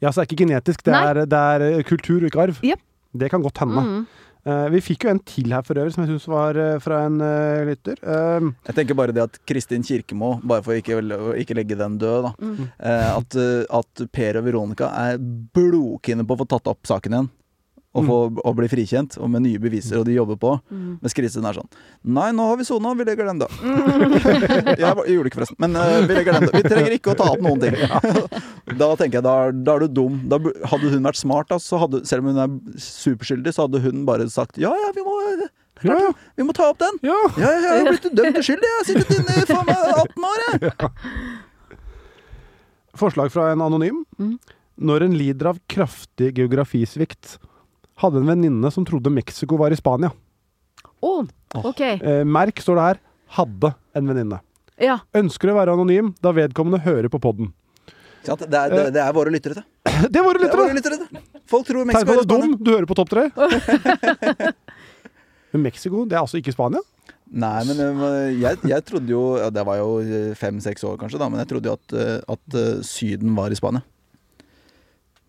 C: Ja, så det er ikke genetisk. Det
D: Nei.
C: er, det er eh, kultur og ikke arv.
D: Jep.
C: Det kan godt hende.
D: mm.
C: Eh, vi fikk jo en til her for øvrig, som jeg syns var eh, fra en eh, lytter. Eh,
B: Jeg tenker bare det at Kristin Kirkemo, bare for å ikke, å ikke legge den død, da.
D: Mm.
B: eh, At, eh, at Per og Veronica er blodkine på å få tatt opp saken igjen. Og, få, og bli frikjent, og med nye beviser, og de jobber på.
D: Mm.
B: Mens Kristin er sånn Nei, nå har vi sona, vi legger den da.
D: Mm.
B: jeg, var- jeg gjorde det ikke, forresten. Men eh, vi legger den da. Vi trenger ikke å ta opp noen ting. da tenker jeg, da, er- da er du dum. Da, bu- hadde hun vært smart, da, så hadde, selv om hun er superskyldig, så hadde hun bare sagt ja, ja, vi må,
C: ja,
B: vi må ta opp den.
C: ja.
B: Ja, ja, jeg har blitt dømt uskyldig. Jeg har sittet inne i faen meg 18 år, jeg.
C: Forslag fra en anonym.
D: Mm.
C: Når en lider av kraftig geografisvikt, hadde en venninne som trodde Mexico var i Spania.
D: Å, OK.
C: Eh, merk, står det her, hadde en venninne.
D: Ja.
C: Ønsker å være anonym da vedkommende hører på podden.
B: Ikke sant? Det, er, det, det er våre lyttere, det.
C: Det var det
B: det, er
C: lyttere!
B: våre lyttere det. Folk tror
C: Tegn
B: Mexico
C: på
B: er
C: at du er
B: Spania.
C: dum, du hører på Topp tre. Men Mexico, det er altså ikke Spania?
B: Nei, men eh, jeg, jeg trodde jo ja, Det var jo fem-seks år, kanskje, da, men jeg trodde jo at, eh, at eh, Syden var i Spania.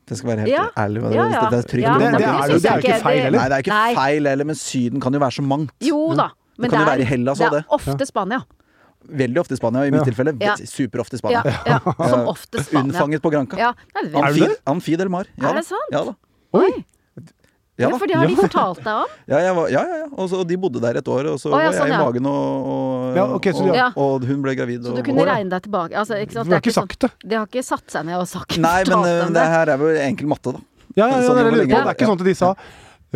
B: Det skal være helt
D: Ja.
B: ærlig. hva Det,
D: Ja, ja.
B: det er trygt.
D: Ja,
B: å
C: det,
D: men
C: det,
D: det
C: er,
D: synes
C: jo- det er jo ikke
D: jeg ikke-
C: feil
D: det-
C: heller.
B: Nei, det er ikke
D: Nei.
B: feil heller, men Syden kan jo være så mangt.
D: Jo da. Men
B: kan
D: det
B: jo
D: er,
B: være i Hellas også,
D: det
B: det.
D: er ofte Spania.
B: Veldig ofte i Spania, og i
C: Ja.
B: mitt tilfelle
D: Ja.
B: ve- superofte i
D: Ja,
B: Spania.
D: ja, som ofte Spania.
B: Unnfanget på Granca.
D: Ja, det er
C: Er
D: veldig
C: det
B: Amfi,
C: det?
B: Amfi del Mar.
D: Er
B: da.
D: det sant?
B: Ja da.
D: Oi!
B: Ja,
D: Ja,
B: da.
D: for det har de
C: Ja.
D: fortalt deg om.
B: ja, jeg var, ja, ja, ja. Og så, og de bodde der et år, og så
D: Å, ja,
B: var jeg
D: sånn,
B: i
D: ja.
B: magen, og, og,
C: Ja, ok, så
B: og,
C: de
D: har-
B: og hun ble gravid.
D: Så
B: og,
D: du kunne
B: og,
D: regne deg tilbake. Altså, ikke
C: Du
D: sant?
C: har
D: Det er ikke
C: ikke
D: sånn,
C: sagt det.
D: de har ikke satt seg ned og sagt
B: Nei, men
D: fortalt
B: eh,
D: dem
B: det
D: det.
B: her er vel enkel matte, da.
C: Ja, ja, ja,
B: Sånn
C: det, er det, jeg lurer
B: lenge-
C: på. det er ikke sånn at de sa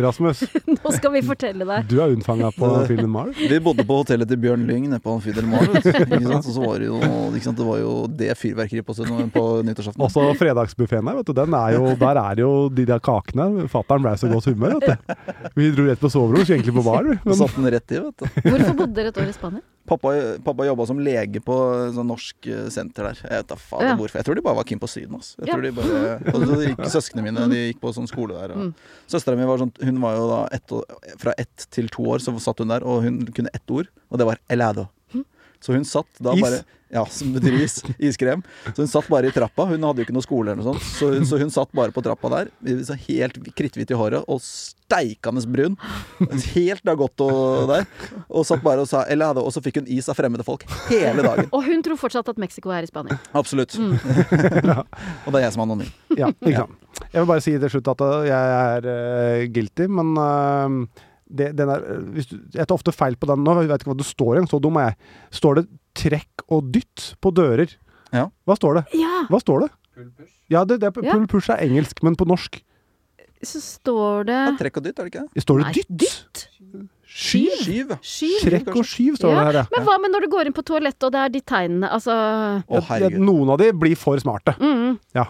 C: Rasmus,
D: Nå skal vi fortelle deg.
C: du er unnfanga på filmen Mar.
B: Vi bodde på hotellet til Bjørn Lyng nede på Amfi del Mar. vet du. Ikke sant? Og så var det jo, ikke sant? Det var jo det fyrverkeriet på, søndag- på nyttårsaften.
C: Også fredagsbuffeen her, vet du. Den er jo, der er det jo de der kakene. Fattern ble så godt humør, vet du. Vi dro rett på soverommet, skulle egentlig på bar. vi.
B: Og
C: Men, sånn,
B: satt den rett i, vet du.
D: Hvorfor bodde dere et år i Spania?
B: Pappa, pappa jobba som lege på et sånt norsk eh, senter der. Jeg vet da faen
D: Ja.
B: hvorfor. Jeg tror de bare var keen på Syden. ass. Jeg
D: Ja.
B: tror de bare, og så gikk Søsknene mine de gikk på sånn skole der.
D: Mm.
B: Og. Søstera mi var sånn Hun var jo da ett år, fra ett til to år, så satt hun der, og hun kunne ett ord, og det var 'elado'.
D: Hm?
B: Så hun satt da
C: Is?
B: bare Ja, som betyr is. Iskrem. Så hun satt bare i trappa. Hun hadde jo ikke noe skole eller noe sånt. Så hun, så hun satt bare på trappa der, så helt kritthvit i håret og steikende brun. Helt Dagotto der. Og satt bare og sa Eller hadde, Og så fikk hun is av fremmede folk hele dagen.
D: Og hun tror fortsatt at Mexico er i Spania.
B: Absolutt. og det er jeg som er anonym.
C: ja, ikke sant. Jeg vil bare si til slutt at øh, jeg er øh, guilty, men øh, det, den er, øh, hvis du, jeg tar ofte feil på den nå. Jeg vet ikke hva det står igjen, så dum er jeg. Står det 'trekk og dytt' på dører?
B: Ja.
C: Hva står det?
D: Ja!
C: Hva står det? Ja, det, det er,
D: Ja.
C: pull push er engelsk, men på norsk
D: Så står det
B: Ja, trekk og dytt, er det ikke det?
C: står det
D: Nei,
C: dytt.
D: dytt.
C: Skyv.
B: Skyv.
D: Skyv.
C: Trekk og skyv står det her, ja.
D: Men hva med når du går inn på toalettet, og det er de tegnene? Altså
B: Å,
C: At- at
B: herregud.
C: Noen av de blir for smarte.
D: mm,
C: Ja.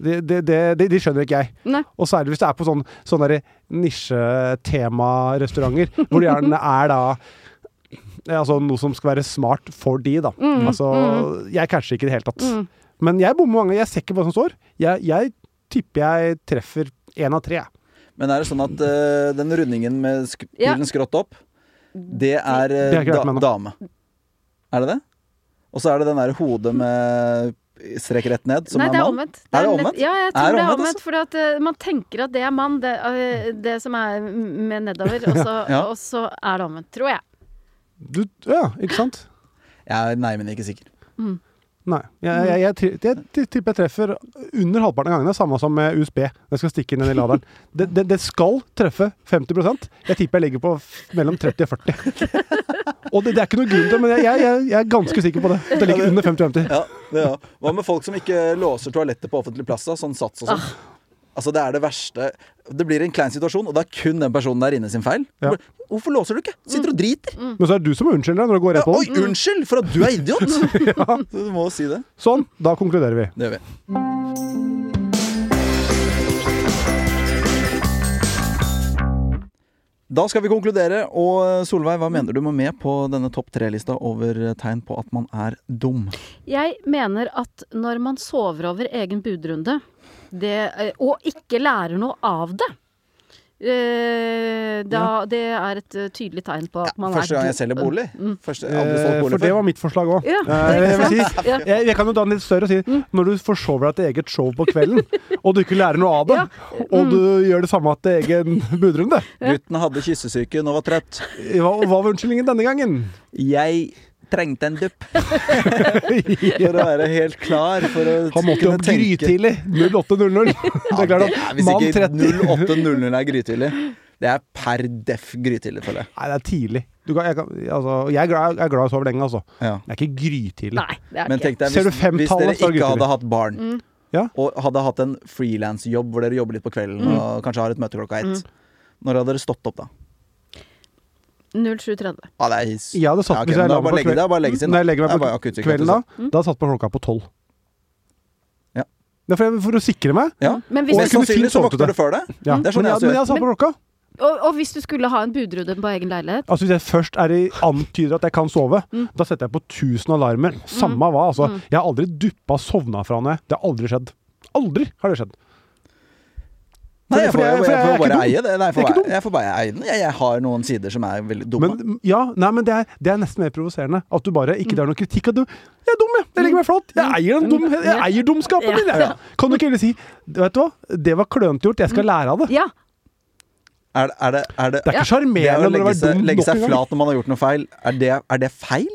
C: Det, det, det, de, de skjønner ikke jeg.
D: Nei.
C: Og særlig hvis det er på sånn- sånne der nisjetema-restauranter, hvor det gjerne er da ja, altså noe som skal være smart for de, da.
D: Mm,
C: altså, jeg catcher ikke i det hele tatt.
D: Mm.
C: Men jeg bommer mange ganger. Jeg ser ikke hva som står. Jeg, jeg tipper jeg treffer én av tre. jeg.
B: Men er det sånn at eh, den rundingen med sk
D: Ja.
B: pilen skrått opp, det er eh,
C: Det har jeg ikke vært
B: da
C: med nå.
B: dame? Er det det? Og så er det den derre hodet med strek rett ned, som
D: Nei, det
B: er
D: er
B: mann?
D: omvendt.
B: Er det
D: lett-
B: omvendt?
D: Ja, jeg
B: Er
D: tror
B: det
D: det er
B: omvendt, altså?
D: omvendt. For at, eh, man tenker at det er mann, det, eh, det som er med nedover. Og så,
B: Ja.
D: og så er det omvendt, tror jeg.
C: Du, ja, ikke sant?
B: Jeg er neimen ikke sikker.
C: Nei. Jeg, jeg, jeg, tri- jeg, ti- tipper jeg treffer under halvparten av gangene, samme som med USB. Når jeg skal stikke inn den i laderen. Det, det, det skal treffe 50 Jeg tipper jeg ligger på f- mellom 30 og 40. Og det, det er ikke noe grunn til, men jeg, jeg, jeg, jeg er ganske sikker på det. At det ligger under 50-50.
B: Ja, det, ja. Hva med folk som ikke låser toalettet på offentlig plass? da? Sånn sats og sånn.
D: Ah.
B: Altså, Det er det verste. Det blir en klein situasjon, og det er kun den personen der inne sin feil.
C: Ja.
B: Hvorfor låser du ikke?
D: Mm.
B: Sitter og driter.
C: Men så er det du som er unnskylderen når du går
B: Ja,
C: rett på
B: oi,
C: den.
B: unnskyld for at du er idiot! Du må jo si det.
C: Sånn, da konkluderer vi.
B: Det gjør vi. Da skal vi konkludere. Og eh, Solveig, hva mener du må med på denne topp tre-lista over eh, tegn på at man er dum?
D: Jeg mener at når man sover over egen budrunde, det, eh, og ikke lærer noe av det eh, da, Det er et eh, tydelig tegn på at man er
B: Første gang jeg
D: dum. Mm,
B: selger bolig. Første, aldri
C: Eh,
B: solgt bolig
C: For det
B: før.
C: var mitt forslag òg.
D: Ja,
C: Jeg, vil si,
D: Ja. Mm.
C: jeg, jeg kan jo ta den litt større og si når du forsover deg til eget show på kvelden, og du ikke lærer noe av det,
D: Ja, Mm.
C: og du gjør det samme til egen budrunde,
B: Gutten hadde kyssesyken og var trøtt.
C: hva, hva var unnskyldningen denne gangen?
B: Jeg trengte en dupp. For å være helt klar. For å
C: Han måtte jo
B: kunne
C: opp
B: tenke-
C: grytidlig. 08.00. Det er klart
B: Ja, det er
C: at
B: hvis
C: mann
B: ikke
C: 30 Nei,
B: 08.00 er grytidlig. Det er per deff grytidlig, føler jeg.
C: det er tidlig. Du kan, jeg, kan, altså, jeg, er glad, jeg er glad i å sove lenge, altså.
B: Ja.
C: Det er ikke grytidlig.
D: Nei, det er det
B: Men
D: ikke.
B: tenk deg,
C: Ser du
B: hvis, hvis
C: femtallet,
B: dere
C: så er det
B: ikke
C: grytidlig.
B: hadde hatt barn,
D: Mm.
C: Ja.
B: og hadde hatt en frilansjobb hvor dere jobber litt på kvelden
D: Mm.
B: og kanskje har et møte klokka ett, når hadde dere stått opp da?
D: 07.30.
B: Ja, det er his.
C: Jeg hadde satt
B: Ja, ok,
C: hvis
B: men
C: jeg
B: da
C: la meg
B: bare
C: på
B: legge-
C: kvelden.
B: da bare legge seg inn, da.
C: Når jeg legger
B: Det er
C: meg
B: bare altså.
C: på
B: akutt psykiatri,
C: kvelden da, da satt på klokka på tolv.
B: Ja.
C: Det er for, for å sikre meg.
B: Ja.
D: Men
B: Og
D: hvis
C: jeg
B: mest
C: kunne fint
B: sannsynlig så
C: solgt
B: våkner
C: det.
B: du før det.
C: Ja.
B: Det er
C: men,
B: sånn jeg
C: jeg,
B: også
C: men jeg
B: gjør.
C: satt på klokka.
D: Og, og hvis du skulle ha en budrunde på egen leilighet
C: Altså Hvis jeg først er i, antyder at jeg kan sove, da setter jeg på 1000 alarmer. Samme hva. altså. Jeg har aldri duppa sovna fra noe. Det har aldri skjedd. Aldri har det skjedd.
B: Nei, jeg
C: For-
B: får,
C: for
B: jeg,
C: jeg-
B: får,
C: for
B: jeg
C: jeg er
B: får bare
C: ikke
B: eie
C: Jeg er
B: det. Nei, jeg, får
C: ikke
B: bare, jeg får bare eie den. Jeg, jeg har noen sider som er veldig dumme.
C: Men, ja, nei, men det er, det er nesten mer provoserende. At du bare ikke det er noen kritikk. At du 'Jeg er dum, jeg! Jeg legger meg flat! Jeg eier, den dum, jeg eier dumskapen min!' Jeg. Kan du ikke heller si 'Vet du hva, det var klønete gjort. Jeg skal lære av det'.
D: Ja.
B: Er, er det, er det,
C: Det er ikke
B: det
C: sjarmerende når
B: å
C: du har
B: legge
C: vært
B: seg,
C: dum
B: legge
C: nok
B: seg
C: en gang.
B: flat når man har gjort noe feil, er det, er det feil?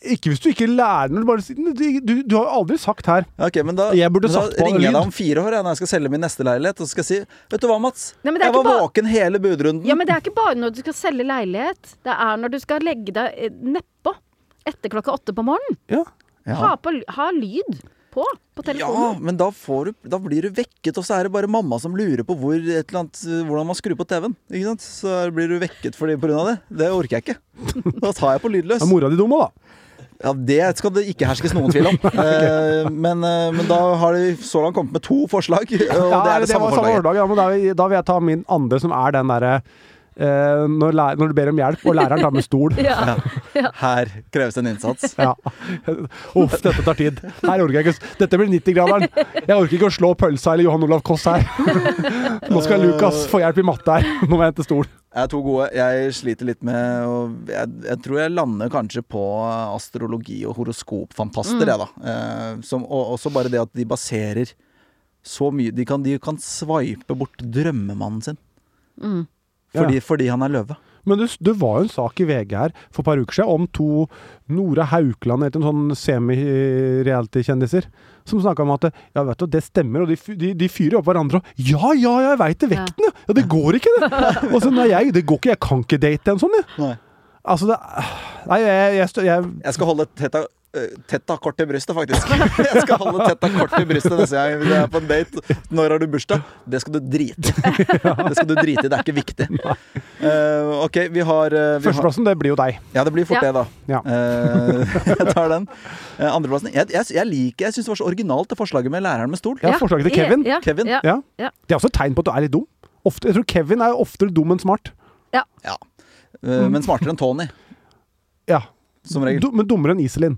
C: Ikke hvis du ikke lærer når du bare sier du, du, du har jo aldri sagt her
B: Ok, men Da,
C: Jeg burde
B: men da
C: satt på en
B: ringer jeg
C: lyd.
B: deg om fire år jeg, når jeg skal selge min neste leilighet og så skal jeg si Vet du hva, Mats?
D: Nei, men det er
B: jeg var
D: ikke bare-
B: våken hele budrunden.
D: ja, men det er ikke bare når du skal selge leilighet. Det er når du skal legge deg eh, nedpå etter klokka åtte på morgenen.
C: ja.
B: ja.
D: Ha, på, ly- ha lyd på på
B: ja,
D: telefonen.
B: men da, får du, da blir du vekket, og så er det bare mamma som lurer på hvor, et eller annet, hvordan man skrur på TV-en. Ikke sant? Så blir du vekket for det, på grunn av det. Det orker jeg ikke. Da tar jeg på lydløs.
C: Er mora di dum òg, da?
B: Ja, Det skal det ikke herskes noen tvil om. Eh, men, eh, men da har de så langt kommet med to forslag, og det er det, samme
C: var
B: forslaget.
C: forslag, ja, men da, vil- da vil jeg ta min andre, som er den derre eh, når, læ- når du ber om hjelp, og læreren tar med stol.
D: Ja.
B: Her kreves en innsats.
C: Ja. Uff, dette tar tid. Her orker jeg ikke å- Dette blir 90-graderen. Jeg orker ikke å slå pølsa eller Johan Olav Koss her. Nå skal Lukas få hjelp i matte her. Nå må jeg hente stol.
B: Jeg er to gode. Jeg sliter litt med og jeg, jeg tror jeg lander kanskje på astrologi og horoskopfantaster, jeg, da. Eh, som, og også bare det at de baserer så mye De kan, de kan sveipe bort drømmemannen sin
D: Mm.
B: fordi, fordi han er løve.
C: Men du, du var jo en sak i VG her for et par uker siden om to Nora Haukeland het en sånn semi-reality-kjendiser. Som snakka om at ja, vet du, det stemmer, og de, fy- de, de fyrer opp hverandre og Ja, ja, ja, jeg veit det, vekten, ja! Ja, det går ikke, det! Og så nei, jeg, det går ikke, jeg kan ikke date en sånn, jeg.
B: Nei.
C: Altså, det Nei, jeg, jeg, stø- jeg
B: Jeg skal holde tetta, eh, tetta kort til brystet, faktisk. Jeg skal holde tetta kort til brystet neste gang vi er på en date. Når har du bursdag? Det skal du drite i. Det skal du drite i, det er ikke viktig. Eh, OK, vi har, eh, vi har
C: Førsteplassen, det blir jo deg.
B: Ja, det blir fort
D: Ja.
B: det, da.
C: Ja.
B: Eh, jeg tar den. Eh, andreplassen. Jeg, jeg, jeg liker Jeg syns det var så originalt, det forslaget med læreren med stol.
C: Ja, forslaget til Kevin.
D: Ja,
B: Kevin?
D: Ja.
C: Ja.
D: Ja.
C: Det er også et tegn på at du er litt dum. Ofte, jeg tror Kevin er oftere dum enn smart.
B: Ja. Eh, men smartere enn Tony,
C: Ja.
B: som regel.
C: Du, men dummere enn Iselin.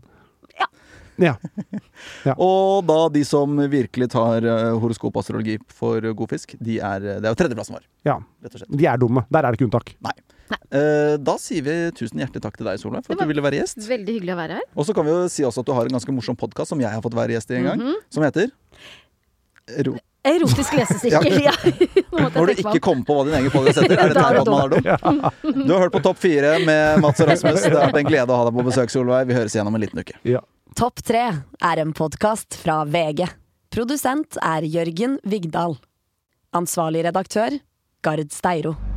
D: Ja.
C: Ja.
B: Og da de som virkelig tar eh, horoskop og astrologi for god fisk, de er, eh, det er jo tredjeplassen vår,
C: ja.
B: rett og slett.
C: De er dumme. Der er det ikke unntak.
B: Nei. Eh, da sier vi tusen hjertelig takk til deg, Solveig, for
D: Det
B: at
D: var-
B: du ville være gjest.
D: Veldig hyggelig å være her.
B: Og så kan vi jo si også at du har en ganske morsom podkast som jeg har fått være gjest i en gang,
D: Mhm.
B: som heter
D: Eh,
B: Ro
D: Erotisk lesesirkel. ja. Nå måtte
B: Når du
D: jeg tenke meg
B: ikke
D: om.
B: kommer på hva din egen podkast heter, er det
D: Da er
B: tegn på
D: du
B: at man er dum. Du har hørt på Topp fire med Mats og Rasmus. Det har vært en glede å ha deg på besøk, Solveig. Vi høres igjen om en liten uke.
C: Ja.
A: Topp tre er en podkast fra VG. Produsent er Jørgen Vigdal. Ansvarlig redaktør Gard Steiro.